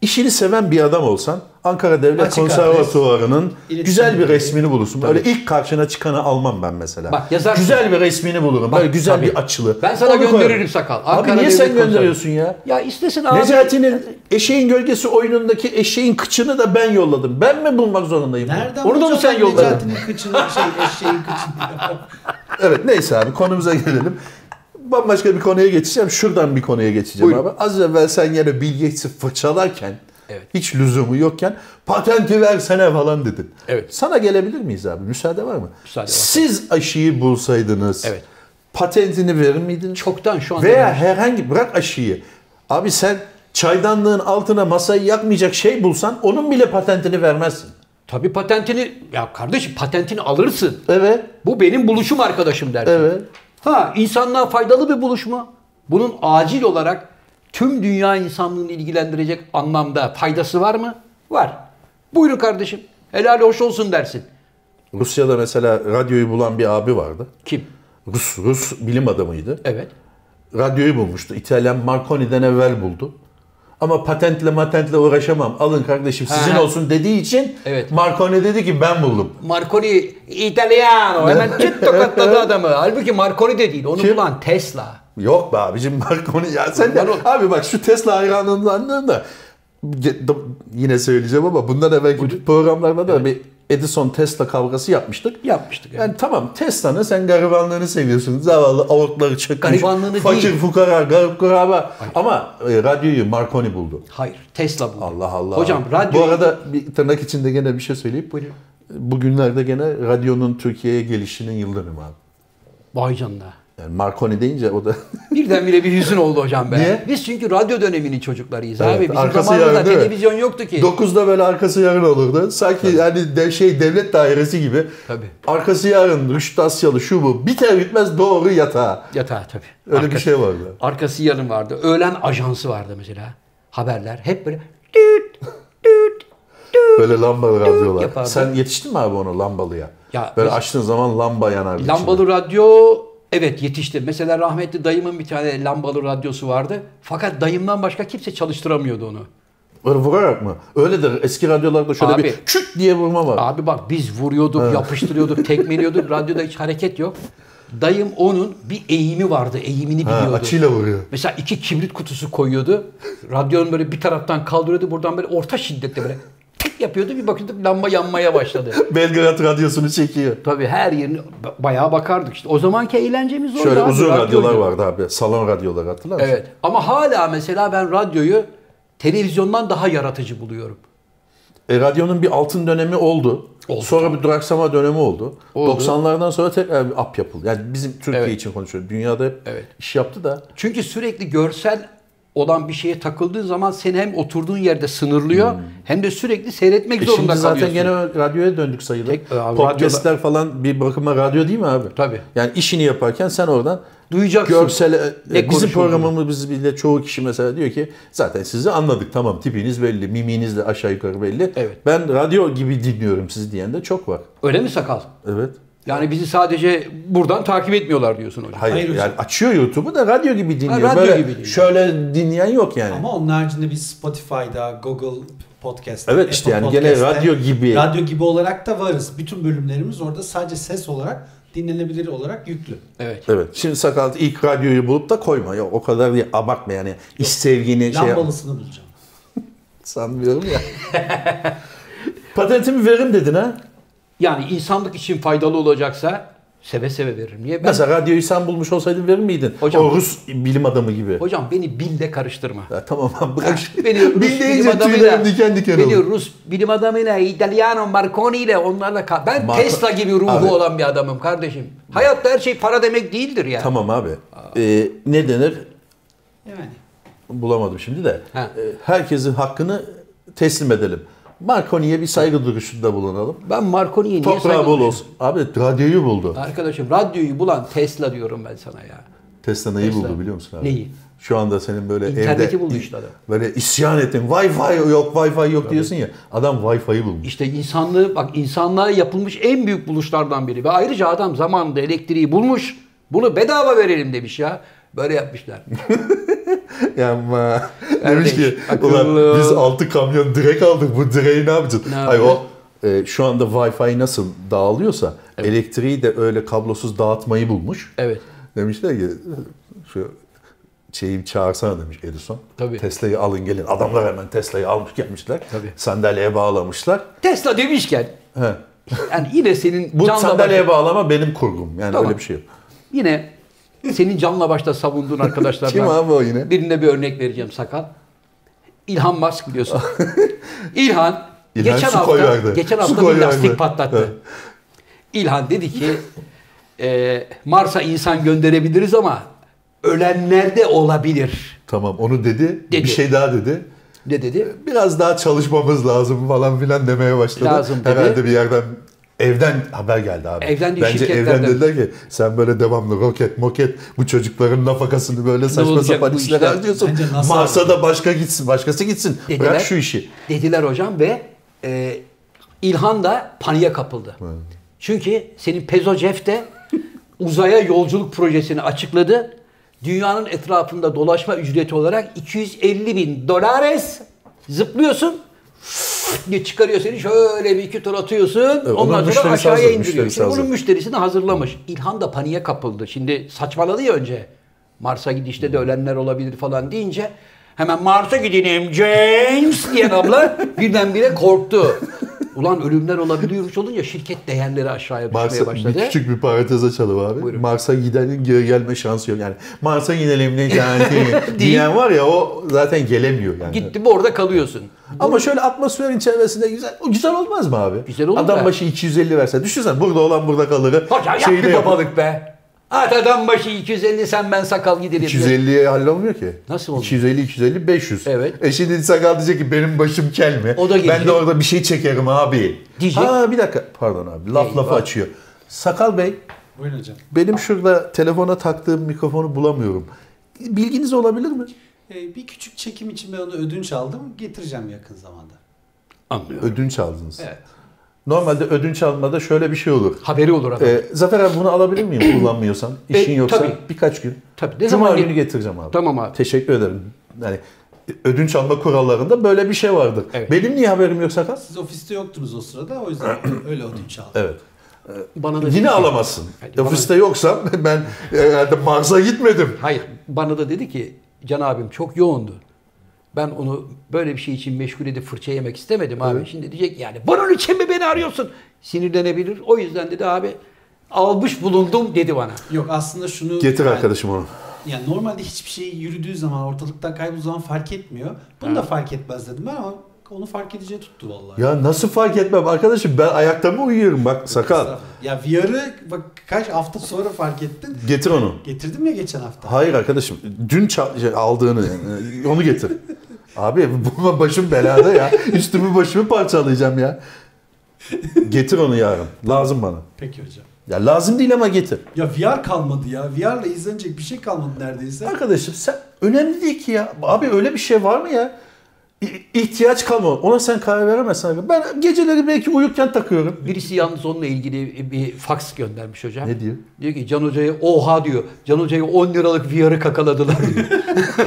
Speaker 2: İşini seven bir adam olsan Ankara Devlet
Speaker 4: Açık
Speaker 2: Konservatuvarı'nın
Speaker 4: İletişim
Speaker 2: güzel bir
Speaker 4: bilgileri.
Speaker 2: resmini bulursun. Böyle ilk karşına çıkanı almam ben mesela.
Speaker 1: Bak, yazarsın.
Speaker 2: Güzel bir resmini bulurum. Böyle güzel
Speaker 1: tabii.
Speaker 2: bir açılı.
Speaker 1: Ben sana
Speaker 2: Onu
Speaker 1: gönderirim
Speaker 2: koyarım.
Speaker 1: sakal.
Speaker 2: abi
Speaker 1: Ankara
Speaker 2: niye sen
Speaker 1: Devlet
Speaker 2: gönderiyorsun ya?
Speaker 1: Ya istesin abi.
Speaker 2: Necati'nin eşeğin gölgesi oyunundaki eşeğin kıçını da ben yolladım. Ben mi bulmak zorundayım?
Speaker 4: Nereden
Speaker 2: Onu da mı
Speaker 4: bulacağım
Speaker 2: sen yolladın?
Speaker 4: Necati'nin kıçını, şey, eşeğin kıçını.
Speaker 2: Evet neyse abi konumuza gelelim. Bambaşka bir konuya geçeceğim. Şuradan bir konuya geçeceğim
Speaker 1: Buyurun.
Speaker 2: abi. Az evvel sen yine Bill Gates'i fırçalarken
Speaker 1: Evet.
Speaker 2: hiç lüzumu yokken patenti versene falan dedin.
Speaker 1: Evet.
Speaker 2: Sana gelebilir miyiz abi? Müsaade var mı?
Speaker 1: Müsaade var.
Speaker 2: Siz aşıyı bulsaydınız
Speaker 1: Evet.
Speaker 2: patentini verir miydiniz?
Speaker 1: Çoktan şu anda.
Speaker 2: Veya herhangi bırak aşıyı. Abi sen çaydanlığın altına masayı yakmayacak şey bulsan onun bile patentini vermezsin.
Speaker 1: Tabii patentini ya kardeşim patentini alırsın.
Speaker 2: Evet.
Speaker 1: Bu benim buluşum arkadaşım dersin.
Speaker 2: Evet.
Speaker 1: Ha insanlığa faydalı bir buluşma. Bunun acil olarak tüm dünya insanlığını ilgilendirecek anlamda faydası var mı? Var. Buyurun kardeşim. Helal hoş olsun dersin.
Speaker 2: Rusya'da mesela radyoyu bulan bir abi vardı.
Speaker 1: Kim?
Speaker 2: Rus, Rus bilim adamıydı.
Speaker 1: Evet.
Speaker 2: Radyoyu bulmuştu. İtalyan Marconi'den evvel buldu. Ama patentle matentle uğraşamam. Alın kardeşim sizin
Speaker 1: Ha.
Speaker 2: olsun dediği için
Speaker 1: Evet.
Speaker 2: Marconi dedi ki ben buldum.
Speaker 1: Marconi Italiano. Hemen çıt tokatladı adamı. Halbuki Marconi de değil. Onu
Speaker 2: Kim?
Speaker 1: bulan Tesla.
Speaker 2: Yok be abicim Marconi ya sen de
Speaker 1: Marconi-
Speaker 2: abi bak şu Tesla hayranından da ge- do- yine söyleyeceğim ama bundan evvelki programlarda da bir Edison Tesla kavgası yapmıştık.
Speaker 1: Yapmıştık, evet.
Speaker 2: Yani tamam Tesla'nın sen garibanlığını seviyorsun. Zavallı avukları çökmüş.
Speaker 1: Garibanlığını
Speaker 2: fakir
Speaker 1: değil.
Speaker 2: fukara garip kuraba. Ama e, radyoyu Marconi buldu.
Speaker 1: Hayır. Tesla bu.
Speaker 2: Allah Allah.
Speaker 1: Hocam radyo...
Speaker 2: Bu arada bir tırnak içinde gene bir şey söyleyip
Speaker 1: Buyurun.
Speaker 2: Bugünlerde gene radyonun Türkiye'ye gelişinin yıldönümü abi.
Speaker 1: Vay canına.
Speaker 2: Yani Marconi deyince o da
Speaker 1: Birdenbire bir hüzün oldu hocam be.
Speaker 2: Niye?
Speaker 1: Biz çünkü radyo döneminin çocuklarıyız
Speaker 2: Evet,
Speaker 1: abi. Bizim
Speaker 2: arkası
Speaker 1: zamanımızda
Speaker 2: yarın değil mi?
Speaker 1: televizyon yoktu ki.
Speaker 2: 9'da böyle arkası yarın olurdu. Sanki yani de şey devlet dairesi gibi.
Speaker 1: Tabii.
Speaker 2: Arkası yarın Rüştü Asyalı şu bu biter bitmez doğru yatağa.
Speaker 1: Yatağı tabii.
Speaker 2: Öyle bir
Speaker 1: Arkası-
Speaker 2: şey vardı.
Speaker 1: Arkası yarın vardı. Öğlen ajansı vardı mesela. Haberler hep böyle düt düt.
Speaker 2: Böyle lambalı radyolar.
Speaker 1: yapardı.
Speaker 2: Sen yetiştin mi abi ona lambalıya?
Speaker 1: Ya
Speaker 2: böyle
Speaker 1: biz-
Speaker 2: açtığın zaman lamba yanardı. içinde.
Speaker 1: Lambalı radyo evet yetişti. Mesela rahmetli dayımın bir tane lambalı radyosu vardı. Fakat dayımdan başka kimse çalıştıramıyordu onu.
Speaker 2: Böyle vurarak mı? Öyledir. Eski radyolarda şöyle
Speaker 1: Abi.
Speaker 2: bir küt diye vurma var.
Speaker 1: Abi bak biz vuruyorduk, yapıştırıyorduk, tekmeliyorduk. Radyoda hiç hareket yok. Dayım onun bir eğimi vardı. Eğimini
Speaker 2: Ha,
Speaker 1: biliyordu.
Speaker 2: açıyla vuruyor.
Speaker 1: Mesela iki kibrit kutusu koyuyordu. Radyonun böyle bir taraftan kaldırıyordu. Buradan böyle orta şiddette böyle tık yapıyordu. Bir bakıyorduk lamba yanmaya başladı.
Speaker 2: Belgrad radyosunu çekiyor.
Speaker 1: Tabii her yerini ba- bayağı bakardık işte. O zamanki eğlencemiz oydu
Speaker 2: Şöyle
Speaker 1: abi,
Speaker 2: uzun
Speaker 1: radyoydu.
Speaker 2: radyolar vardı abi. Salon radyoları hatırlar mısın?
Speaker 1: Evet. Ama hala mesela ben radyoyu televizyondan daha yaratıcı buluyorum.
Speaker 2: E, radyonun bir altın dönemi oldu.
Speaker 1: Oldu.
Speaker 2: Sonra bir duraksama dönemi oldu.
Speaker 1: Oldu.
Speaker 2: 90'lardan sonra tekrar bir up yapıldı. Yani bizim Türkiye
Speaker 1: Evet.
Speaker 2: için konuşuyorum. Dünyada hep
Speaker 1: Evet.
Speaker 2: iş yaptı da.
Speaker 1: Çünkü sürekli görsel olan bir şeye takıldığın zaman seni hem oturduğun yerde sınırlıyor hem de sürekli seyretmek
Speaker 2: Hmm. E
Speaker 1: zorunda
Speaker 2: şimdi zaten
Speaker 1: kalıyorsun.
Speaker 2: gene radyoya döndük sayılır.
Speaker 1: Tek- e, abi,
Speaker 2: Podcastler falan bir bakıma radyo değil mi abi?
Speaker 1: Tabii.
Speaker 2: Yani işini yaparken sen oradan
Speaker 1: Duyacaksın.
Speaker 2: görsel e,
Speaker 1: Ne
Speaker 2: e, bizim
Speaker 1: konuşulduğunu.
Speaker 2: programımız bile çoğu kişi mesela diyor ki zaten sizi anladık tamam tipiniz belli, miminiz de aşağı yukarı belli.
Speaker 1: Evet.
Speaker 2: Ben radyo gibi dinliyorum sizi diyen de çok var.
Speaker 1: Öyle mi sakal?
Speaker 2: Evet.
Speaker 1: Yani bizi sadece buradan takip etmiyorlar diyorsun hocam.
Speaker 2: Hayır,
Speaker 4: Hayır hocam.
Speaker 2: yani açıyor YouTube'u da radyo gibi dinliyor.
Speaker 1: radyo
Speaker 2: Böyle
Speaker 1: gibi dinliyor.
Speaker 2: Şöyle dinleyen yok yani.
Speaker 4: Ama onun haricinde biz Spotify'da, Google Podcast'ta,
Speaker 2: Evet işte yani gene
Speaker 4: Podcast'te,
Speaker 2: radyo gibi.
Speaker 4: Radyo gibi olarak da varız. Bütün bölümlerimiz orada sadece ses olarak dinlenebilir olarak yüklü.
Speaker 1: Evet.
Speaker 2: Evet. Şimdi sakal ilk radyoyu bulup da koyma. Ya o kadar diye abartma yani. İş sevgini şey yap-
Speaker 4: Lambalısını bulacağım.
Speaker 2: sanmıyorum ya. Patentimi veririm dedin ha.
Speaker 1: Yani insanlık için faydalı olacaksa seve seve veririm. Niye? Ben,
Speaker 2: Mesela radyoyu sen bulmuş olsaydın verir miydin?
Speaker 1: Hocam-
Speaker 2: o Rus bilim adamı gibi.
Speaker 1: hocam beni bille karıştırma.
Speaker 2: Ya tamam abi bırak.
Speaker 1: Beni Rus
Speaker 2: Bil
Speaker 1: bilim
Speaker 2: deyince
Speaker 1: adamıyla,
Speaker 2: tüylerim diken diken
Speaker 1: beni
Speaker 2: oldu.
Speaker 1: Rus bilim adamıyla, İtalyano, Marconi ile onlarla ka- ben
Speaker 2: Marco-
Speaker 1: Tesla gibi ruhu
Speaker 2: Abi-
Speaker 1: olan bir adamım kardeşim. Hayatta her şey para demek değildir ya.
Speaker 2: Tamam abi. Ee, ne denir?
Speaker 4: Yani.
Speaker 2: bulamadım şimdi de.
Speaker 1: Ha.
Speaker 2: E, Herkesin hakkını teslim edelim. Marconi'ye bir saygı duruşunda bulunalım.
Speaker 1: Ben Marconi'ye niye
Speaker 2: Toprağı
Speaker 1: saygı
Speaker 2: bol
Speaker 1: duyuyorum?
Speaker 2: olsun. Abi radyoyu buldu.
Speaker 1: Arkadaşım radyoyu bulan Tesla diyorum ben sana ya.
Speaker 2: Tesla neyi
Speaker 1: Tesla.
Speaker 2: buldu biliyor musun abi?
Speaker 1: Neyi?
Speaker 2: Şu anda senin böyle
Speaker 1: İnterneti
Speaker 2: evde
Speaker 1: buldu işte adam.
Speaker 2: böyle isyan ettin. Wi-Fi yok, Wi-Fi yok diyorsun ya. Adam Wi-Fi'yi bulmuş.
Speaker 1: İşte insanlığı bak insanlığa yapılmış en büyük buluşlardan biri ve ayrıca adam zamanında elektriği bulmuş. Bunu bedava verelim demiş ya. Böyle yapmışlar.
Speaker 2: Yani demiş ki
Speaker 1: akıllı."
Speaker 2: ulan biz 6 kamyon direk aldık bu direği ne yapacağız?
Speaker 1: Ne
Speaker 2: Hayır
Speaker 1: yapacağız?
Speaker 2: o e, şu anda Wi-Fi nasıl dağılıyorsa elektriği de öyle kablosuz dağıtmayı bulmuş.
Speaker 1: Evet.
Speaker 2: Demişler ki şu şeyi çağırsana demiş Edison.
Speaker 1: Tabii.
Speaker 2: Tesla'yı alın gelin. Adamlar hemen Tesla'yı almış gelmişler.
Speaker 1: Tabii.
Speaker 2: Sandalyeye bağlamışlar.
Speaker 1: Tesla demişken
Speaker 2: He.
Speaker 1: yani yine senin
Speaker 2: Bu
Speaker 1: canla
Speaker 2: sandalyeye
Speaker 1: başla-
Speaker 2: bağlama benim kurgum. Yani
Speaker 1: Tamam.
Speaker 2: öyle bir şey yok.
Speaker 1: yine senin canla başla savunduğun arkadaşlardan.
Speaker 2: Kim abi o yine?
Speaker 1: Birine bir örnek vereceğim sakal. İlhan Musk biliyorsun. İlhan,
Speaker 2: İlhan
Speaker 1: geçen
Speaker 2: su
Speaker 1: hafta
Speaker 2: koyverdi.
Speaker 1: geçen
Speaker 2: Su
Speaker 1: hafta bir
Speaker 2: koyverdi.
Speaker 1: lastik patlattı.
Speaker 2: Evet.
Speaker 1: İlhan dedi ki e, Mars'a insan gönderebiliriz ama ölenler de olabilir.
Speaker 2: Tamam onu dedi.
Speaker 1: Dedi.
Speaker 2: Bir şey daha dedi.
Speaker 1: Ne dedi?
Speaker 2: Biraz daha çalışmamız lazım falan filan demeye başladı.
Speaker 1: Lazım dedi.
Speaker 2: Herhalde bir yerden evden haber geldi abi.
Speaker 1: Evden değil,
Speaker 2: Bence
Speaker 1: şirketlerden.
Speaker 2: evden dediler ki sen böyle devamlı roket moket bu çocukların nafakasını böyle saçma
Speaker 1: olacak
Speaker 2: sapan
Speaker 1: bu
Speaker 2: işler
Speaker 1: işler?
Speaker 2: harcıyorsun.
Speaker 4: Bence NASA
Speaker 2: Mars'a da başka gitsin, başkası gitsin.
Speaker 1: Dediler.
Speaker 2: Bırak şu işi.
Speaker 1: Dediler hocam ve e, İlhan da paniğe kapıldı. Çünkü senin Pezo Jeff de uzaya yolculuk projesini açıkladı. Dünyanın etrafında dolaşma ücreti olarak 250 bin dolares zıplıyorsun. diye çıkarıyor seni şöyle bir iki tur atıyorsun.
Speaker 2: onun
Speaker 1: ondan sonra
Speaker 2: müşterisi
Speaker 1: aşağıya
Speaker 2: hazır,
Speaker 1: indiriyor.
Speaker 2: müşterisi
Speaker 1: Şimdi bunun
Speaker 2: hazır.
Speaker 1: müşterisini hazırlamış. İlhan da paniğe kapıldı. Şimdi saçmaladı ya önce. Mars'a gidişte de ölenler olabilir falan deyince hemen Mars'a gideyim James diyen abla birdenbire korktu. Ulan ölümler olabiliyormuş olunca şirket değerleri aşağıya düşmeye
Speaker 2: Mars'a
Speaker 1: başladı.
Speaker 2: bir küçük bir parantez açalım abi.
Speaker 1: Buyurun.
Speaker 2: Mars'a gidenin geri gelme şansı yok. Yani Mars'a gidelim ne cehenneti
Speaker 1: Değil.
Speaker 2: diyen var ya o zaten gelemiyor yani.
Speaker 1: Gitti bu orada kalıyorsun.
Speaker 2: Ama şöyle atmosferin çevresinde güzel, o güzel olmaz mı abi?
Speaker 1: Güzel olur
Speaker 2: Adam
Speaker 1: da.
Speaker 2: başı 250 verse. Düşünsen burada olan burada kalır.
Speaker 1: Hocam yap
Speaker 2: Şeyi de
Speaker 1: bir
Speaker 2: yap-
Speaker 1: babalık be. At adam başı 250 sen ben sakal gidelim.
Speaker 2: 250'ye hallolmuyor ki.
Speaker 1: Nasıl olmuyor?
Speaker 2: 250, 250, 500.
Speaker 1: Evet.
Speaker 2: E şimdi sakal diyecek ki benim başım kel mi?
Speaker 1: O da gelecek.
Speaker 2: Ben de orada bir şey çekerim abi.
Speaker 1: Diyecek.
Speaker 2: Ha bir dakika. Pardon abi. Laf
Speaker 1: Eyvah.
Speaker 2: lafı açıyor. Sakal Bey
Speaker 4: Buyurun hocam.
Speaker 2: benim şurada telefona taktığım mikrofonu bulamıyorum. Bilginiz olabilir mi?
Speaker 4: Ee, bir küçük çekim için ben onu ödünç aldım. Getireceğim yakın zamanda.
Speaker 1: Anlıyorum.
Speaker 2: Ödünç aldınız.
Speaker 4: Evet.
Speaker 2: Normalde ödünç almada şöyle bir şey olur.
Speaker 1: Haberi olur adam.
Speaker 2: Ee, Zafer abi bunu alabilir miyim kullanmıyorsan? İşin
Speaker 1: E,
Speaker 2: yoksa
Speaker 1: tabii.
Speaker 2: birkaç gün.
Speaker 1: Tabii, ne
Speaker 2: Cuma
Speaker 1: zaman
Speaker 2: günü
Speaker 1: gel-
Speaker 2: getireceğim abi.
Speaker 1: Tamam abi.
Speaker 2: Teşekkür ederim. Yani e, ödünç alma kurallarında böyle bir şey vardır.
Speaker 1: Evet.
Speaker 2: Benim niye haberim yok Sakal?
Speaker 4: Siz ofiste yoktunuz o sırada o yüzden öyle ödünç aldım.
Speaker 2: Evet.
Speaker 1: Bana da
Speaker 2: Yine
Speaker 1: dedi ki-
Speaker 2: alamazsın.
Speaker 1: Hadi bana-
Speaker 2: Ofiste yoksam ben herhalde Mars'a gitmedim.
Speaker 1: Hayır. Bana da dedi ki Can abim çok yoğundu. Ben onu böyle bir şey için meşgul edip fırça yemek istemedim abi. Şimdi diyecek yani bunun için mi beni arıyorsun? Sinirlenebilir. O yüzden dedi abi almış bulundum dedi bana.
Speaker 4: Yok aslında şunu...
Speaker 2: Getir
Speaker 4: yani-
Speaker 2: arkadaşım onu.
Speaker 4: Yani normalde hiçbir şey yürüdüğü zaman ortalıktan kaybolduğu zaman fark etmiyor. Bunu da fark etmez dedim ben ama onu fark edeceği tuttu vallahi.
Speaker 2: Ya nasıl fark etmem arkadaşım ben ayakta mı uyuyorum bak Sakal.
Speaker 4: Ya VR'ı bak kaç hafta sonra fark ettin.
Speaker 2: Getir onu.
Speaker 4: Getirdim ya geçen hafta.
Speaker 2: Hayır arkadaşım dün ça- şey, aldığını yani, onu getir. Abi bu başım belada ya. Üstümü başımı parçalayacağım ya. Getir onu yarın. Lazım bana.
Speaker 4: Peki hocam.
Speaker 2: Ya lazım değil ama getir.
Speaker 4: Ya VR kalmadı ya. VR'la izlenecek bir şey kalmadı neredeyse.
Speaker 2: Arkadaşım sen önemli değil ki ya. Abi öyle bir şey var mı ya? İ- ihtiyaç kalmadı. Ona sen karar veremezsin. abi. Ben geceleri belki uyurken takıyorum.
Speaker 1: Birisi yalnız onunla ilgili bir fax göndermiş hocam.
Speaker 2: Ne diyor?
Speaker 1: Diyor ki Can Hoca'ya oha diyor. Can Hoca'ya 10 liralık VR'ı kakaladılar diyor.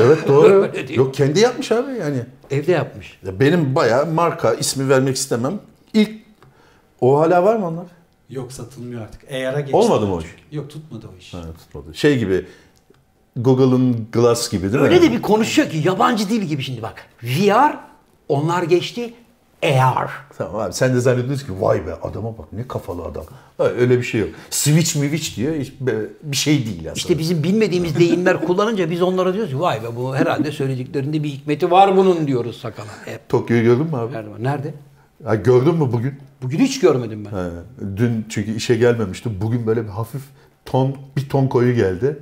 Speaker 2: Evet doğru.
Speaker 1: Öyle değil.
Speaker 2: Yok kendi yapmış abi yani.
Speaker 1: Evde yapmış.
Speaker 2: Ya benim bayağı marka ismi vermek istemem. İlk o hala var mı onlar?
Speaker 4: Yok satılmıyor artık. AR'a geçti.
Speaker 2: Olmadı mı o iş?
Speaker 4: Çünkü. Yok tutmadı o iş.
Speaker 2: Ha, tutmadı. Şey gibi Google'ın Glass gibi değil mi?
Speaker 1: Öyle de bir konuşuyor ki yabancı dil gibi şimdi bak. VR onlar geçti. E AR.
Speaker 2: Tamam abi sen de zannediyorsun ki vay be adama bak ne kafalı adam. Ha, öyle bir şey yok. Switch miviç diyor hiç be- bir şey değil aslında.
Speaker 1: İşte bizim bilmediğimiz deyimler kullanınca biz onlara diyoruz ki vay be bu herhalde söylediklerinde bir hikmeti var bunun diyoruz sakala. Hep
Speaker 2: Tokyo'yu gördün mü abi?
Speaker 1: Erdoğan. Nerede?
Speaker 2: Ha, gördün mü bugün?
Speaker 1: Bugün hiç görmedim ben.
Speaker 2: Ha, dün çünkü işe gelmemiştim. Bugün böyle bir hafif ton bir ton koyu geldi.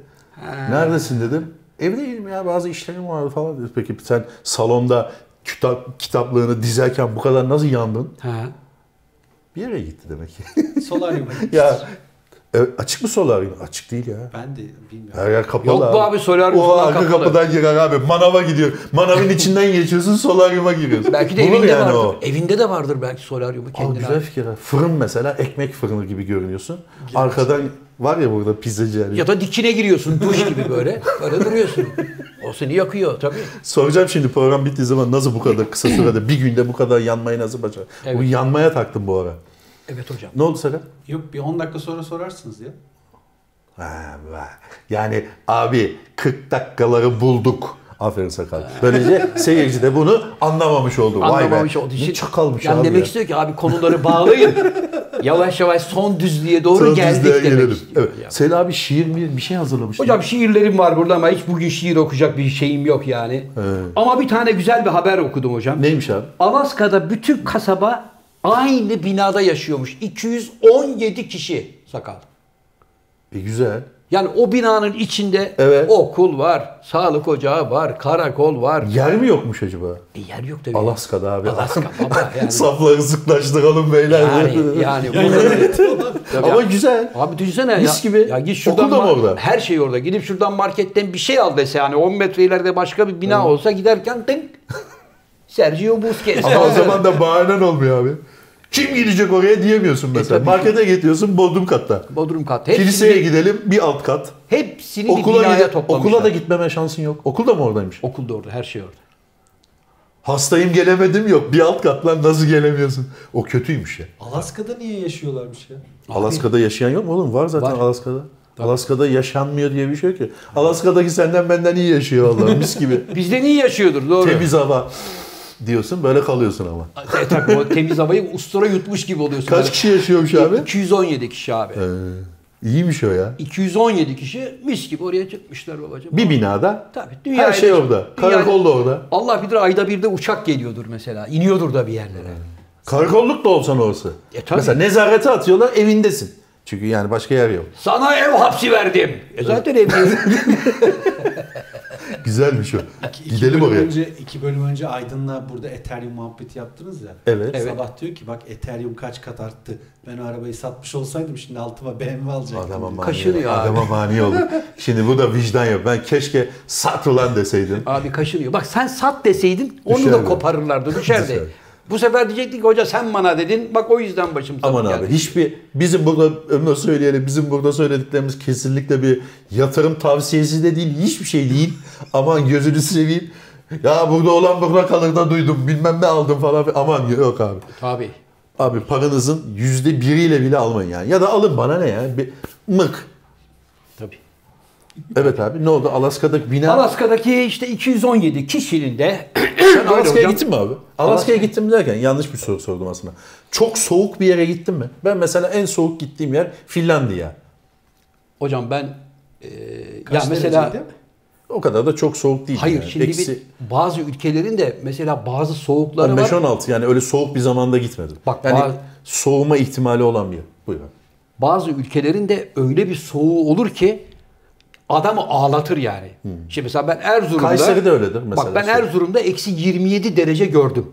Speaker 2: Neredesin dedim. Evdeyim ya bazı işlerim vardı falan. dedi. Peki sen salonda kitap, kitaplığını dizerken bu kadar nasıl yandın?
Speaker 1: Ha.
Speaker 2: Bir yere gitti demek ki.
Speaker 4: Solaryum'a gitmiştir.
Speaker 2: ya E, açık mı solaryum? Açık değil ya.
Speaker 4: Ben de bilmiyorum.
Speaker 2: Her yer kapalı
Speaker 1: Yok
Speaker 2: abi.
Speaker 1: bu abi solaryum
Speaker 2: O
Speaker 1: falan
Speaker 2: arka
Speaker 1: kapalı.
Speaker 2: kapıdan girer abi. Manava gidiyor. Manavın içinden geçiyorsun solaryuma giriyorsun.
Speaker 1: Belki de
Speaker 2: Bulur
Speaker 1: evinde
Speaker 2: yani
Speaker 1: vardır.
Speaker 2: o.
Speaker 1: Evinde de vardır belki solaryumu
Speaker 2: Abi
Speaker 1: kendine.
Speaker 2: güzel fikir. ha. Fırın mesela ekmek fırını gibi görünüyorsun. Arkadan var ya burada pizzacı yani.
Speaker 1: Ya da dikine giriyorsun duş gibi böyle. Böyle duruyorsun. O seni yakıyor tabii.
Speaker 2: Soracağım şimdi program bittiği zaman nasıl bu kadar kısa sürede bir günde bu kadar yanmayı nasıl başar? Bu yanmaya taktım bu ara.
Speaker 1: Evet hocam.
Speaker 2: Ne oldu Serap?
Speaker 4: Yok bir 10 dakika sonra sorarsınız ya.
Speaker 2: Ha, vay. Yani abi 40 dakikaları bulduk. Aferin sakal. Böylece seyirci de bunu anlamamış oldu.
Speaker 1: Anlamamış
Speaker 2: Vay be.
Speaker 1: oldu.
Speaker 2: Ne
Speaker 1: Şimdi-
Speaker 2: çakalmış
Speaker 1: yani
Speaker 2: abi
Speaker 1: demek
Speaker 2: ya.
Speaker 1: istiyor ki abi konuları bağlayın. yavaş yavaş son düzlüğe doğru
Speaker 2: Sonra
Speaker 1: geldik
Speaker 2: düzlüğe
Speaker 1: demek
Speaker 2: gelelim.
Speaker 1: istiyor.
Speaker 2: Evet.
Speaker 1: yani.
Speaker 2: Seyla abi şiir mi bir şey hazırlamış.
Speaker 1: Hocam şiirlerim var burada ama hiç bugün şiir okuyacak bir şeyim yok yani. Ama bir tane güzel bir haber okudum hocam.
Speaker 2: Neymiş abi?
Speaker 1: Alaska'da bütün kasaba aynı binada yaşıyormuş. 217 kişi sakal.
Speaker 2: E, güzel.
Speaker 1: Yani o binanın içinde
Speaker 2: Evet.
Speaker 1: okul var, sağlık ocağı var, karakol var.
Speaker 2: Yer mi yokmuş acaba?
Speaker 1: E yer yok tabii.
Speaker 2: Alaska'da abi.
Speaker 1: Alaska baba yani.
Speaker 2: Safları sıklaştıralım beyler.
Speaker 1: yani, yani burada-
Speaker 2: Ama güzel.
Speaker 1: Abi düşünsene
Speaker 2: Mis
Speaker 1: ya.
Speaker 2: gibi.
Speaker 1: Ya git şuradan
Speaker 2: Okul da mı
Speaker 1: ma-
Speaker 2: orada?
Speaker 1: Her şey orada. Gidip şuradan marketten bir şey al dese yani 10 metre ileride başka bir bina olsa giderken tınk. Sergio Busquets.
Speaker 2: Ama o zaman da bahanen olmuyor abi. Kim gidecek oraya diyemiyorsun mesela.
Speaker 1: E, tabii ki.
Speaker 2: Markete getiriyorsun bodrum katta.
Speaker 1: Bodrum kat. Hepsini,
Speaker 2: Kiliseye gidelim bir alt kat.
Speaker 1: hepsini bir
Speaker 2: Okula,
Speaker 1: binaya
Speaker 2: gide,
Speaker 1: toplamışlar.
Speaker 2: okula da gitmeme şansın yok. Okul da mı oradaymış?
Speaker 1: Okul da orada. Her şey orada.
Speaker 2: Hastayım gelemedim yok. Bir alt kat lan nasıl gelemiyorsun? O kötüymüş ya.
Speaker 4: Alaska'da niye yaşıyorlarmış ya?
Speaker 2: Alaska'da yaşayan yok mu oğlum? Var zaten
Speaker 1: Var.
Speaker 2: Alaska'da. Alaska'da yaşanmıyor diye bir şey yok ki. Alaska'daki senden benden iyi yaşıyor Allah mis gibi.
Speaker 1: Bizden iyi yaşıyordur doğru.
Speaker 2: Temiz hava diyorsun böyle kalıyorsun ama.
Speaker 1: E, tabii o temiz havayı ustura yutmuş gibi oluyorsun.
Speaker 2: Kaç
Speaker 1: Böyle.
Speaker 2: kişi yaşıyormuş abi?
Speaker 1: 217 kişi abi.
Speaker 2: Ee, iyiymiş o ya.
Speaker 1: 217 kişi mis gibi oraya çıkmışlar babacığım.
Speaker 2: Bir binada
Speaker 1: Tabii.
Speaker 2: her
Speaker 1: dünyaya
Speaker 2: şey
Speaker 1: da-
Speaker 2: orada.
Speaker 1: dünyaya-
Speaker 2: Karakol da orada.
Speaker 1: Allah bilir ayda bir de uçak geliyordur mesela. İniyordur da bir yerlere.
Speaker 2: Karakolluk da olsan orası.
Speaker 1: E, tabii.
Speaker 2: Mesela nezarete atıyorlar evindesin. Çünkü yani başka yer yok.
Speaker 1: Sana ev hapsi verdim. E zaten evliyim.
Speaker 2: Güzelmiş o.
Speaker 4: İki- iki
Speaker 2: Gidelim
Speaker 4: bölüm
Speaker 2: oraya.
Speaker 4: Önce, iki bölüm önce Aydın'la burada Ethereum muhabbeti yaptınız ya.
Speaker 2: Evet.
Speaker 4: Sabah diyor ki bak Ethereum kaç kat arttı. Ben o arabayı satmış olsaydım şimdi altıma BMW alacaktım.
Speaker 2: Adama mani,
Speaker 1: Kaşınıyor abi.
Speaker 2: adama mani olduk. Şimdi bu da vicdan yok. Ben keşke sat ulan deseydim.
Speaker 1: Abi kaşınıyor. Bak sen sat deseydin onu da
Speaker 2: Düşerdi.
Speaker 1: koparırlardı düşerdi.
Speaker 2: Düşerdi.
Speaker 1: Bu sefer diyecektik ki hoca sen bana dedin. Bak o yüzden başım sana
Speaker 2: Aman abi hiçbir bizim burada ömür söyleyelim bizim burada söylediklerimiz kesinlikle bir yatırım tavsiyesi de değil hiçbir şey değil. Aman gözünü seveyim. Ya burada olan burada kalır da duydum bilmem ne aldım falan. filan. Aman yok abi.
Speaker 1: Tabii.
Speaker 2: Abi paranızın yüzde biriyle bile almayın yani. Ya da alın bana ne ya? Bir mık.
Speaker 1: Tabii.
Speaker 2: Evet abi ne oldu? Alaska'daki bina...
Speaker 1: Alaska'daki işte 217 kişinin de
Speaker 2: Sen Alaska'ya
Speaker 1: hocam.
Speaker 2: gittin mi abi?
Speaker 1: Alaska'ya
Speaker 2: Alaska'ya gittim derken yanlış bir soru sordum aslında. Çok soğuk bir yere gittin mi? Ben mesela en soğuk gittiğim yer Finlandiya.
Speaker 1: hocam ben e, ya
Speaker 4: Kaç
Speaker 1: mesela
Speaker 4: dereceydi?
Speaker 2: O kadar da çok soğuk değil.
Speaker 1: hayır
Speaker 2: yani.
Speaker 1: şimdi
Speaker 2: Eksi
Speaker 1: bir, bazı ülkelerin de mesela bazı soğukları var.
Speaker 2: 15-16 yani öyle soğuk bir zamanda gitmedim.
Speaker 1: Bak,
Speaker 2: yani
Speaker 1: bazı-
Speaker 2: soğuma ihtimali olan bir yer. Buyur abi.
Speaker 1: bazı ülkelerin de öyle bir soğuğu olur ki adamı ağlatır yani. Şimdi mesela ben Erzurum'da
Speaker 2: Hmm. Kayseri'de öyledir mesela.
Speaker 1: Bak ben Erzurum'da eksi 27 derece gördüm.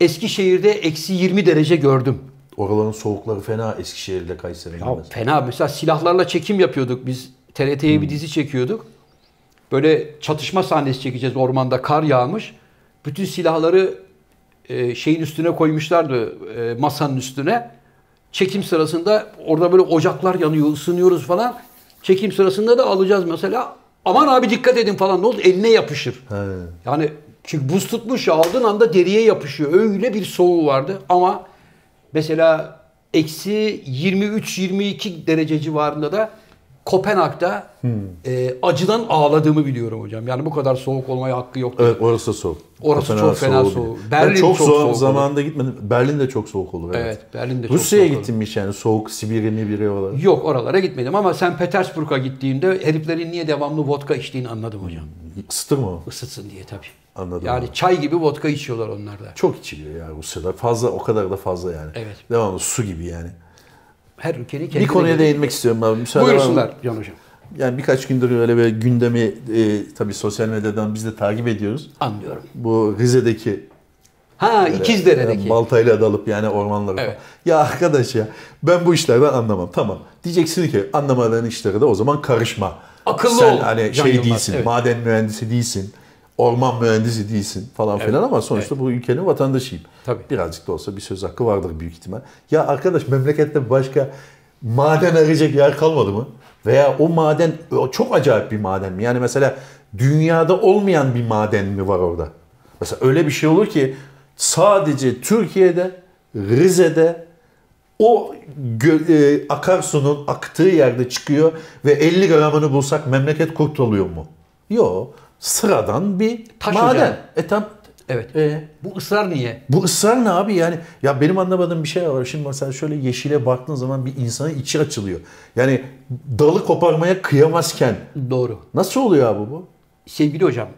Speaker 1: Eskişehir'de eksi 20 derece gördüm.
Speaker 2: Oraların soğukları fena Eskişehir'de Kayseri'de.
Speaker 1: Ya
Speaker 2: mesela.
Speaker 1: fena mesela silahlarla çekim yapıyorduk biz. TRT'ye bir dizi çekiyorduk. Böyle çatışma sahnesi çekeceğiz ormanda kar yağmış. Bütün silahları e, şeyin üstüne koymuşlardı e, masanın üstüne. Çekim sırasında orada böyle ocaklar yanıyor ısınıyoruz falan. Çekim sırasında da alacağız mesela. Aman abi dikkat edin falan ne oldu eline yapışır. Yani çünkü buz tutmuş ya aldığın anda deriye yapışıyor. Öyle bir soğuğu vardı ama mesela eksi 23-22 derece civarında da Kopenhag'da
Speaker 2: Hmm.
Speaker 1: e, acıdan ağladığımı biliyorum hocam. Yani bu kadar soğuk olmaya hakkı yok.
Speaker 2: Evet orası da soğuk.
Speaker 1: Orası
Speaker 2: O
Speaker 1: çok fena
Speaker 2: soğuğu
Speaker 1: soğuk.
Speaker 2: bile.
Speaker 1: Berlin
Speaker 2: ben çok,
Speaker 1: çok
Speaker 2: soğuk,
Speaker 1: soğuk
Speaker 2: zamanında gitmedim. Berlin de çok soğuk olur. Evet.
Speaker 1: Evet, Berlin de çok
Speaker 2: Rusya'ya
Speaker 1: soğuk olur.
Speaker 2: gittim hiç yani soğuk Sibirya Mibirya olarak.
Speaker 1: Yok oralara gitmedim ama sen Petersburg'a gittiğimde heriflerin niye devamlı vodka içtiğini anladım hocam.
Speaker 2: Isıtır mı o?
Speaker 1: Isıtsın diye tabii.
Speaker 2: Anladım.
Speaker 1: Yani çay gibi vodka içiyorlar onlar da.
Speaker 2: Çok içiliyor ya Rusya'da. Fazla o kadar da fazla yani.
Speaker 1: Evet.
Speaker 2: Devamlı su gibi yani.
Speaker 1: Her ülkenin
Speaker 2: Bir
Speaker 1: kendine
Speaker 2: konuya
Speaker 1: göre-
Speaker 2: değinmek istiyorum abi. Müsaade var mı?
Speaker 1: Buyursunlar Can Hocam.
Speaker 2: Yani birkaç gündür öyle bir gündemi e, tabii sosyal medyadan biz de takip ediyoruz.
Speaker 1: Anlıyorum.
Speaker 2: Bu Rize'deki e,
Speaker 1: Ha İkizdere'deki.
Speaker 2: Yani baltayla dalıp yani ormanlara falan.
Speaker 1: Evet.
Speaker 2: Ya arkadaş ya ben bu işlerden anlamam. Tamam. Diyeceksin ki anlamadığın işlere de o zaman karışma.
Speaker 1: Akıllı
Speaker 2: Sen
Speaker 1: ol,
Speaker 2: hani
Speaker 1: Can
Speaker 2: şey
Speaker 1: Yılmaz,
Speaker 2: değilsin,
Speaker 1: evet.
Speaker 2: maden mühendisi değilsin, orman mühendisi değilsin falan filan ama sonuçta bu ülkenin vatandaşıyım.
Speaker 1: Tabii.
Speaker 2: Birazcık da olsa bir söz hakkı vardır büyük ihtimal. Ya arkadaş memlekette başka maden arayacak yer kalmadı mı? Veya o maden o çok acayip bir maden mi? Yani mesela dünyada olmayan bir maden mi var orada? Mesela öyle bir şey olur ki sadece Türkiye'de, Rize'de o gö- e, akarsunun aktığı yerde çıkıyor ve 50 gramını bulsak memleket kurtuluyor mu? Yok. Sıradan bir
Speaker 1: Taş
Speaker 2: maden.
Speaker 1: ocağı.
Speaker 2: E tam
Speaker 1: Evet.
Speaker 2: E,
Speaker 1: Bu ısrar niye?
Speaker 2: bu ısrar ne abi yani? Ya benim anlamadığım bir şey var. Şimdi mesela şöyle yeşile baktığın zaman bir insanın içi açılıyor. Yani dalı koparmaya kıyamazken
Speaker 1: Doğru.
Speaker 2: nasıl oluyor abi bu?
Speaker 1: Sevgili hocam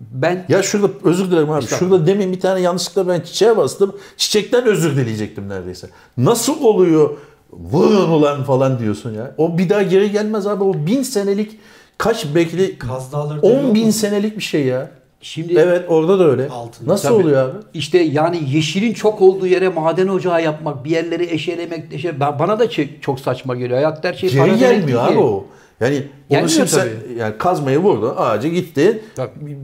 Speaker 1: ben
Speaker 2: Ya şurada özür dilerim abi. Şurada demin bir tane yanlışlıkla ben çiçeğe bastım. Çiçekten özür dileyecektim neredeyse. Nasıl oluyor? Vurun ulan falan diyorsun ya. O bir daha geri gelmez abi. O bin senelik kaç bekli
Speaker 4: Kaz Dağları tabii
Speaker 2: 10 bin
Speaker 4: olmadı.
Speaker 2: senelik bir şey ya.
Speaker 1: şimdi
Speaker 2: Evet orada da öyle.
Speaker 4: Altın.
Speaker 2: Nasıl
Speaker 1: Tabii.
Speaker 2: oluyor abi?
Speaker 1: İşte yani yeşilin çok olduğu yere maden ocağı yapmak, bir yerleri eşelemek, eşe, Ben- bana da çe- çok saçma geliyor. Hayat her şey
Speaker 2: Geri
Speaker 1: para demek
Speaker 2: gelmiyor
Speaker 1: değil
Speaker 2: abi
Speaker 1: ki.
Speaker 2: o. Yani onu
Speaker 1: Gelmiyor
Speaker 2: şimdi sen,
Speaker 1: tabii.
Speaker 2: yani kazmayı vurdu, ağaca gitti.
Speaker 1: Tabii.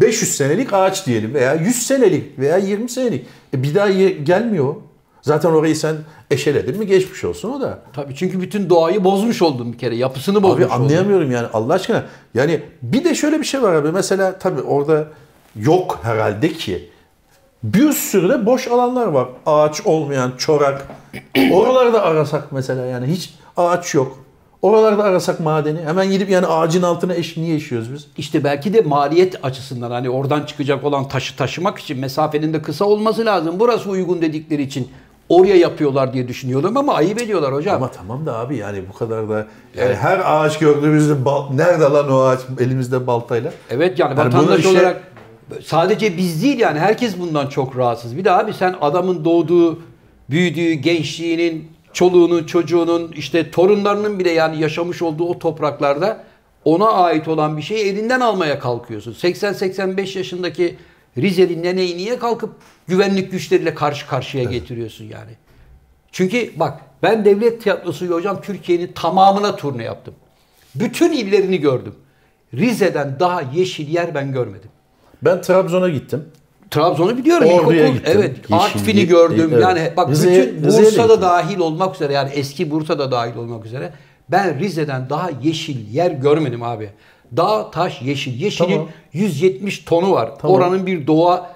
Speaker 2: 500 senelik ağaç diyelim veya 100 senelik veya 20 senelik. E bir daha ye- gelmiyor. o. Zaten orayı sen eşeledin mi geçmiş olsun o da.
Speaker 1: Tabii çünkü bütün doğayı bozmuş oldum bir kere. Yapısını
Speaker 2: Abi
Speaker 1: bozmuş oldum.
Speaker 2: anlayamıyorum yani Allah aşkına. Yani bir de şöyle bir şey var abi. Mesela tabii orada yok herhalde ki. Bir sürü de boş alanlar var. Ağaç olmayan çorak. Oralarda arasak mesela yani hiç ağaç yok. Oralarda arasak madeni. Hemen gidip yani ağacın altına eş niye eşiyoruz biz?
Speaker 1: İşte belki de maliyet açısından hani oradan çıkacak olan taşı taşımak için mesafenin de kısa olması lazım. Burası uygun dedikleri için oraya yapıyorlar diye düşünüyorum ama ayıp ediyorlar hocam.
Speaker 2: Ama tamam da abi yani bu kadar da yani her ağaç gördüğümüzde bal, nerede lan o ağaç elimizde baltayla?
Speaker 1: Evet yani,
Speaker 2: Yani bunun
Speaker 1: vatandaş
Speaker 2: işe-
Speaker 1: olarak sadece biz değil yani herkes bundan çok rahatsız. Bir de abi sen adamın doğduğu, büyüdüğü, gençliğinin, çoluğunun, çocuğunun, işte torunlarının bile yani yaşamış olduğu o topraklarda ona ait olan bir şeyi elinden almaya kalkıyorsun. 80-85 yaşındaki Rizeli neneyi niye kalkıp güvenlik güçleriyle karşı karşıya getiriyorsun yani? Çünkü bak ben devlet tiyatrosuyla hocam Türkiye'nin tamamına turne yaptım. Bütün illerini gördüm. Rize'den daha yeşil yer ben görmedim.
Speaker 2: Ben Trabzon'a gittim.
Speaker 1: Trabzon'u biliyorum.
Speaker 2: Ordu'ya
Speaker 1: ilkokul,
Speaker 2: gittim.
Speaker 1: Evet.
Speaker 2: Yeşillik,
Speaker 1: Artvin'i gördüm.
Speaker 2: evet.
Speaker 1: Yani bak
Speaker 2: Rize'ye-
Speaker 1: bütün
Speaker 2: Rize'ye de
Speaker 1: Bursa'da
Speaker 2: gittim.
Speaker 1: dahil olmak üzere yani eski Bursa'da dahil olmak üzere ben Rize'den daha yeşil yer görmedim abi. Dağ, taş, yeşil. Yeşilin
Speaker 2: Tamam.
Speaker 1: 170 tonu var.
Speaker 2: Tamam.
Speaker 1: Oranın bir doğa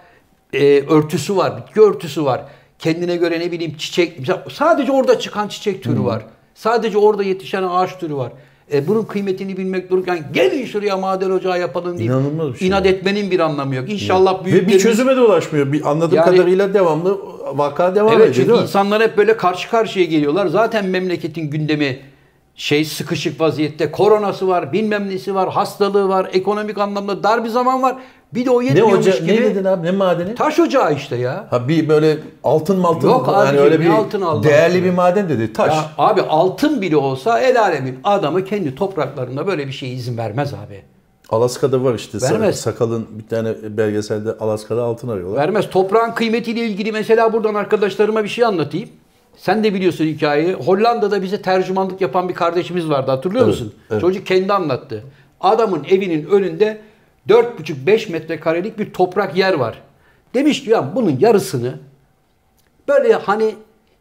Speaker 1: e, örtüsü var. Bitki örtüsü var. Kendine göre ne bileyim çiçek. mesela Sadece orada çıkan çiçek
Speaker 2: Hmm.
Speaker 1: türü var. Sadece orada yetişen ağaç türü var. E, bunun kıymetini bilmek dururken gelin şuraya maden ocağı yapalım deyip
Speaker 2: İnanılmaz bir şey
Speaker 1: inat
Speaker 2: ya.
Speaker 1: etmenin bir anlamı yok. İnşallah büyük
Speaker 2: Ve bir çözüme de ulaşmıyor. Bir anladığım
Speaker 1: Yani-
Speaker 2: kadarıyla devamlı vaka devam
Speaker 1: Evet
Speaker 2: ediyor
Speaker 1: çünkü
Speaker 2: değil mi?
Speaker 1: insanlar hep böyle karşı karşıya geliyorlar. Zaten memleketin gündemi şey sıkışık vaziyette. Koronası var, bilmem nesi var, hastalığı var, ekonomik anlamda dar bir zaman var. Bir de o
Speaker 2: Ne
Speaker 1: yetmiyormuş
Speaker 2: hoca
Speaker 1: gibi.
Speaker 2: ne dedin abi ne madeni?
Speaker 1: Taş ocağı işte ya.
Speaker 2: Ha bir böyle altın maltın
Speaker 1: Yok
Speaker 2: yani
Speaker 1: abicim,
Speaker 2: öyle
Speaker 1: ne
Speaker 2: bir
Speaker 1: altın Allah
Speaker 2: değerli
Speaker 1: aşkına?
Speaker 2: bir maden dedi taş.
Speaker 1: ya. Abi altın bile olsa el alemin adamı kendi topraklarında böyle bir şeye izin vermez abi.
Speaker 2: Alaska'da var işte sa-
Speaker 1: Vermez.
Speaker 2: sakalın bir tane belgeselde Alaska'da altın arıyorlar.
Speaker 1: Vermez. Toprağın kıymetiyle ilgili mesela buradan arkadaşlarıma bir şey anlatayım. Sen de biliyorsun hikayeyi. Hollanda'da bize tercümanlık yapan bir kardeşimiz vardı hatırlıyor
Speaker 2: Evet,
Speaker 1: musun?
Speaker 2: evet.
Speaker 1: Çocuk kendi anlattı. Adamın evinin önünde 4,5-5 metrekarelik bir toprak yer var. Demiş ki ya bunun yarısını böyle hani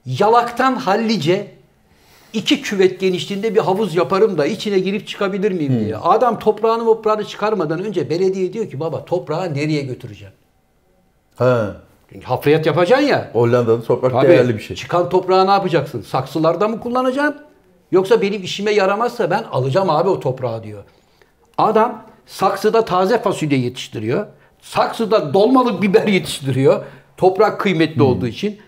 Speaker 1: yalaktan hallice iki küvet genişliğinde bir havuz yaparım da içine girip çıkabilir miyim
Speaker 2: Hmm.
Speaker 1: diye. Adam toprağını toprağını çıkarmadan önce belediye diyor ki baba toprağı nereye götüreceğim?
Speaker 2: Ha.
Speaker 1: Çünkü hafriyat yapacaksın ya.
Speaker 2: Hollanda'da toprak
Speaker 1: Tabii,
Speaker 2: değerli bir şey.
Speaker 1: Çıkan toprağı ne yapacaksın? Saksılarda mı kullanacaksın? Yoksa benim işime yaramazsa ben alacağım abi o toprağı diyor. Adam saksıda taze fasulye yetiştiriyor. Saksıda dolmalık biber yetiştiriyor. Toprak kıymetli olduğu için.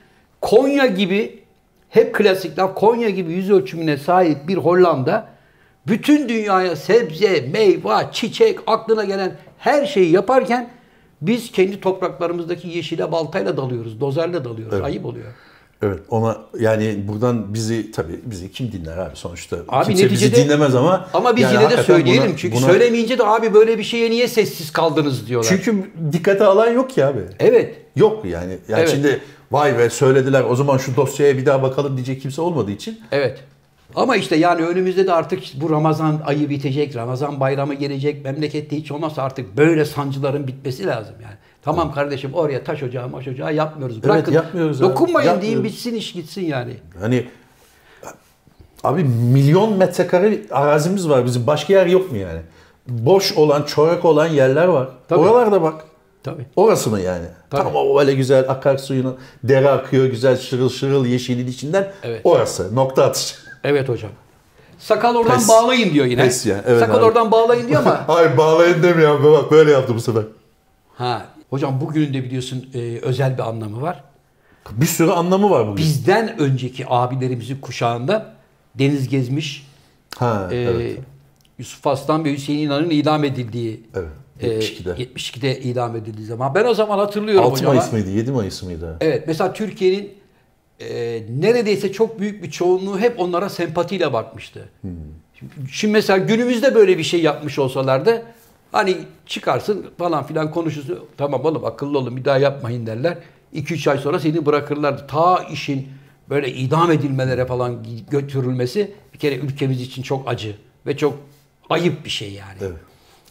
Speaker 1: Konya gibi hep klasikler Konya gibi yüz ölçümüne sahip bir Hollanda bütün dünyaya sebze, meyve, çiçek, aklına gelen her şeyi yaparken biz kendi topraklarımızdaki yeşile baltayla dalıyoruz, dozerle dalıyoruz. Ayıp oluyor.
Speaker 2: Evet ona yani buradan bizi tabii bizi kim dinler abi sonuçta
Speaker 1: Abi
Speaker 2: kimse
Speaker 1: neticede-
Speaker 2: bizi dinlemez ama
Speaker 1: Ama biz
Speaker 2: yani
Speaker 1: yine de
Speaker 2: hakikaten
Speaker 1: söyleyelim
Speaker 2: buna-
Speaker 1: çünkü
Speaker 2: buna-
Speaker 1: söylemeyince de abi böyle bir şeye niye sessiz kaldınız diyorlar.
Speaker 2: çünkü dikkate alan yok ki abi.
Speaker 1: evet.
Speaker 2: Yok yani. yani
Speaker 1: Evet.
Speaker 2: Şimdi vay be söylediler o zaman şu dosyaya bir daha bakalım diyecek kimse olmadığı için.
Speaker 1: Evet. Ama işte yani önümüzde de artık bu Ramazan ayı bitecek, Ramazan bayramı gelecek, memlekette hiç olmazsa artık böyle sancıların bitmesi lazım yani. Tamam kardeşim oraya taş ocağı maş ocağı yapmıyoruz. Bırakın.
Speaker 2: yapmıyoruz abi.
Speaker 1: Dokunmayın deyin
Speaker 2: Yapmıyoruz.
Speaker 1: bitsin iş gitsin yani.
Speaker 2: Hani abi milyon metrekare arazimiz var bizim. Başka yer yok mu yani? Boş olan, çorak olan yerler var.
Speaker 1: Tabii.
Speaker 2: Oralarda bak.
Speaker 1: Tabii.
Speaker 2: Orası mı yani?
Speaker 1: Tabii.
Speaker 2: Tamam o öyle güzel akarsuyunu dere akıyor güzel şırıl şırıl yeşilin içinden.
Speaker 1: Evet.
Speaker 2: Orası. Nokta atışı.
Speaker 1: Evet hocam. Sakal oradan
Speaker 2: Pes.
Speaker 1: bağlayın diyor yine.
Speaker 2: Pes ya, evet
Speaker 1: Sakal
Speaker 2: abi.
Speaker 1: oradan bağlayın diyor ama.
Speaker 2: Hayır bağlayın demiyor abi. Bak böyle yaptı bu sefer.
Speaker 1: ha. Hocam bugünün de biliyorsun e, özel bir anlamı var.
Speaker 2: Bir sürü anlamı var bugün.
Speaker 1: Bizden önceki abilerimizin kuşağında deniz gezmiş,
Speaker 2: Ha,
Speaker 1: e,
Speaker 2: evet.
Speaker 1: Yusuf Aslan ve Hüseyin İnan'ın idam edildiği
Speaker 2: Evet.
Speaker 1: e,
Speaker 2: 72'de.
Speaker 1: 72'de idam edildiği zaman. Ben o zaman hatırlıyorum
Speaker 2: 6
Speaker 1: hocam.
Speaker 2: Mayıs mıydı? 7 Mayıs mıydı?
Speaker 1: Evet mesela Türkiye'nin e, neredeyse çok büyük bir çoğunluğu hep onlara sempatiyle bakmıştı. Şimdi mesela günümüzde böyle bir şey yapmış olsalardı hani çıkarsın falan filan konuşursun. Tamam oğlum akıllı olun bir daha yapmayın derler. 2-3 ay sonra seni bırakırlardı. Ta işin böyle idam edilmelere falan gi- götürülmesi bir kere ülkemiz için çok acı ve çok ayıp bir şey yani.
Speaker 2: Evet.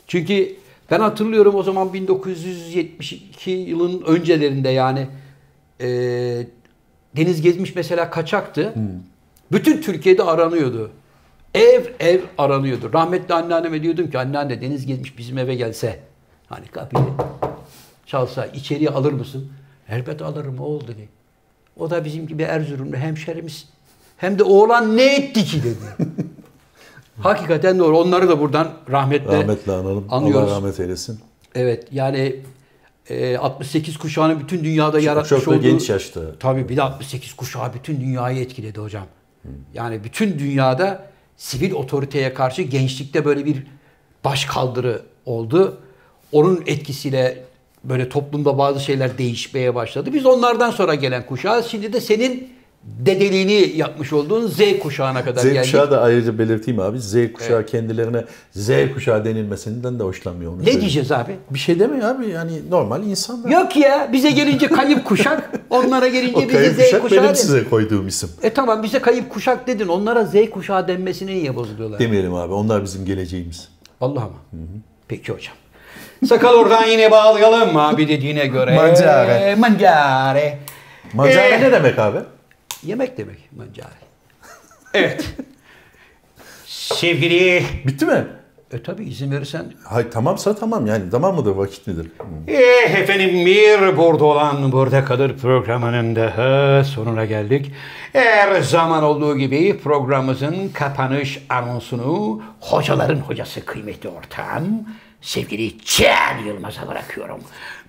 Speaker 1: Çünkü ben hatırlıyorum o zaman 1972 yılın öncelerinde yani e, Deniz Gezmiş mesela kaçaktı. Bütün Türkiye'de aranıyordu. Ev ev aranıyordu. Rahmetli anneanneme diyordum ki anneanne Deniz Gezmiş bizim eve gelse. Hani kapıyı çalsa içeriye alır mısın? Elbet alırım oğul dedi. O da bizim gibi Erzurumlu hemşerimiz. Hem de oğlan ne etti ki dedi. Hakikaten doğru. Onları da buradan rahmetle,
Speaker 2: Rahmetle analım.
Speaker 1: anıyoruz.
Speaker 2: Allah rahmet eylesin.
Speaker 1: Evet yani e, 68 kuşağını bütün dünyada yaratmış
Speaker 2: Çok da
Speaker 1: olduğu...
Speaker 2: genç yaşta.
Speaker 1: Tabii bir de 68 kuşağı bütün dünyayı etkiledi hocam. Yani bütün dünyada sivil otoriteye karşı gençlikte böyle bir baş kaldırı oldu. Onun etkisiyle böyle toplumda bazı şeyler değişmeye başladı. Biz onlardan sonra gelen kuşağız. Şimdi de senin dedeliğini yapmış olduğun Z kuşağına kadar
Speaker 2: Z
Speaker 1: geldik.
Speaker 2: kuşağı da ayrıca belirteyim abi. Z kuşağı kendilerine Z kuşağı denilmesinden de hoşlanmıyor. Onu
Speaker 1: Ne
Speaker 2: söyleyeyim.
Speaker 1: diyeceğiz abi?
Speaker 2: Bir şey demiyor abi yani normal insanlar.
Speaker 1: Yok ya bize gelince kayıp kuşak, onlara gelince
Speaker 2: o
Speaker 1: bize
Speaker 2: kayıp
Speaker 1: Z kuşağı.
Speaker 2: kuşak benim
Speaker 1: dedi.
Speaker 2: size koyduğum isim.
Speaker 1: E tamam bize kayıp kuşak dedin. Onlara Z kuşağı denmesine niye bozuluyorlar?
Speaker 2: Demeyelim abi onlar bizim geleceğimiz.
Speaker 1: Vallahi ama. Peki hocam. Sakal oradan yine bağlayalım abi dediğine göre.
Speaker 2: Mancare.
Speaker 1: Mancare.
Speaker 2: Macera
Speaker 1: Ee,
Speaker 2: ne demek abi?
Speaker 1: Yemek demek mancare.
Speaker 4: Evet. Sevgili
Speaker 2: Bitti mi?
Speaker 1: E tabi izin verirsen.
Speaker 2: Hay tamamsa tamam yani tamam mıdır vakit midir?
Speaker 4: eh, efendim bir burada olan
Speaker 1: Burada kalır programının daha sonuna geldik. Her zaman olduğu gibi programımızın kapanış anonsunu hocaların hocası kıymetli ortağım sevgili Çiğen Yılmaz'a bırakıyorum.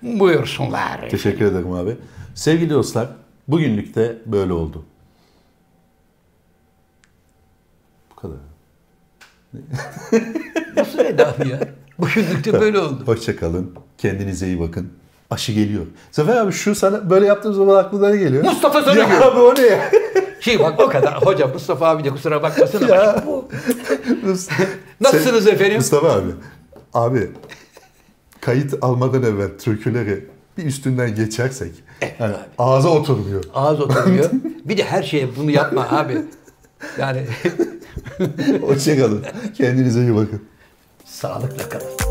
Speaker 1: Buyursunlar.
Speaker 2: Teşekkür ederim abi. Sevgili dostlar bugünlük de böyle oldu. Bu kadar.
Speaker 1: Nasıl veda ya? Bugünlük de böyle oldu.
Speaker 2: Hoşça kalın. Kendinize iyi bakın. Aşı geliyor. Zafer abi şu sana böyle yaptığım zaman aklına ne geliyor?
Speaker 1: Mustafa Sarıgül.
Speaker 2: Ya abi o ne ya?
Speaker 1: Şey bak o kadar. Hoca Mustafa abi de kusura bakmasın ama.
Speaker 2: Ya.
Speaker 1: bu-
Speaker 2: Must-
Speaker 1: Nasılsınız efendim?
Speaker 2: Mustafa abi. Abi kayıt almadan evvel türküleri bir üstünden geçersek yani ağza oturmuyor.
Speaker 1: Ağız oturuyor. Bir de her şeye bunu yapma abi. Yani
Speaker 2: Hoşça kalın. Kendinize iyi bakın.
Speaker 1: sağlıkla kalın.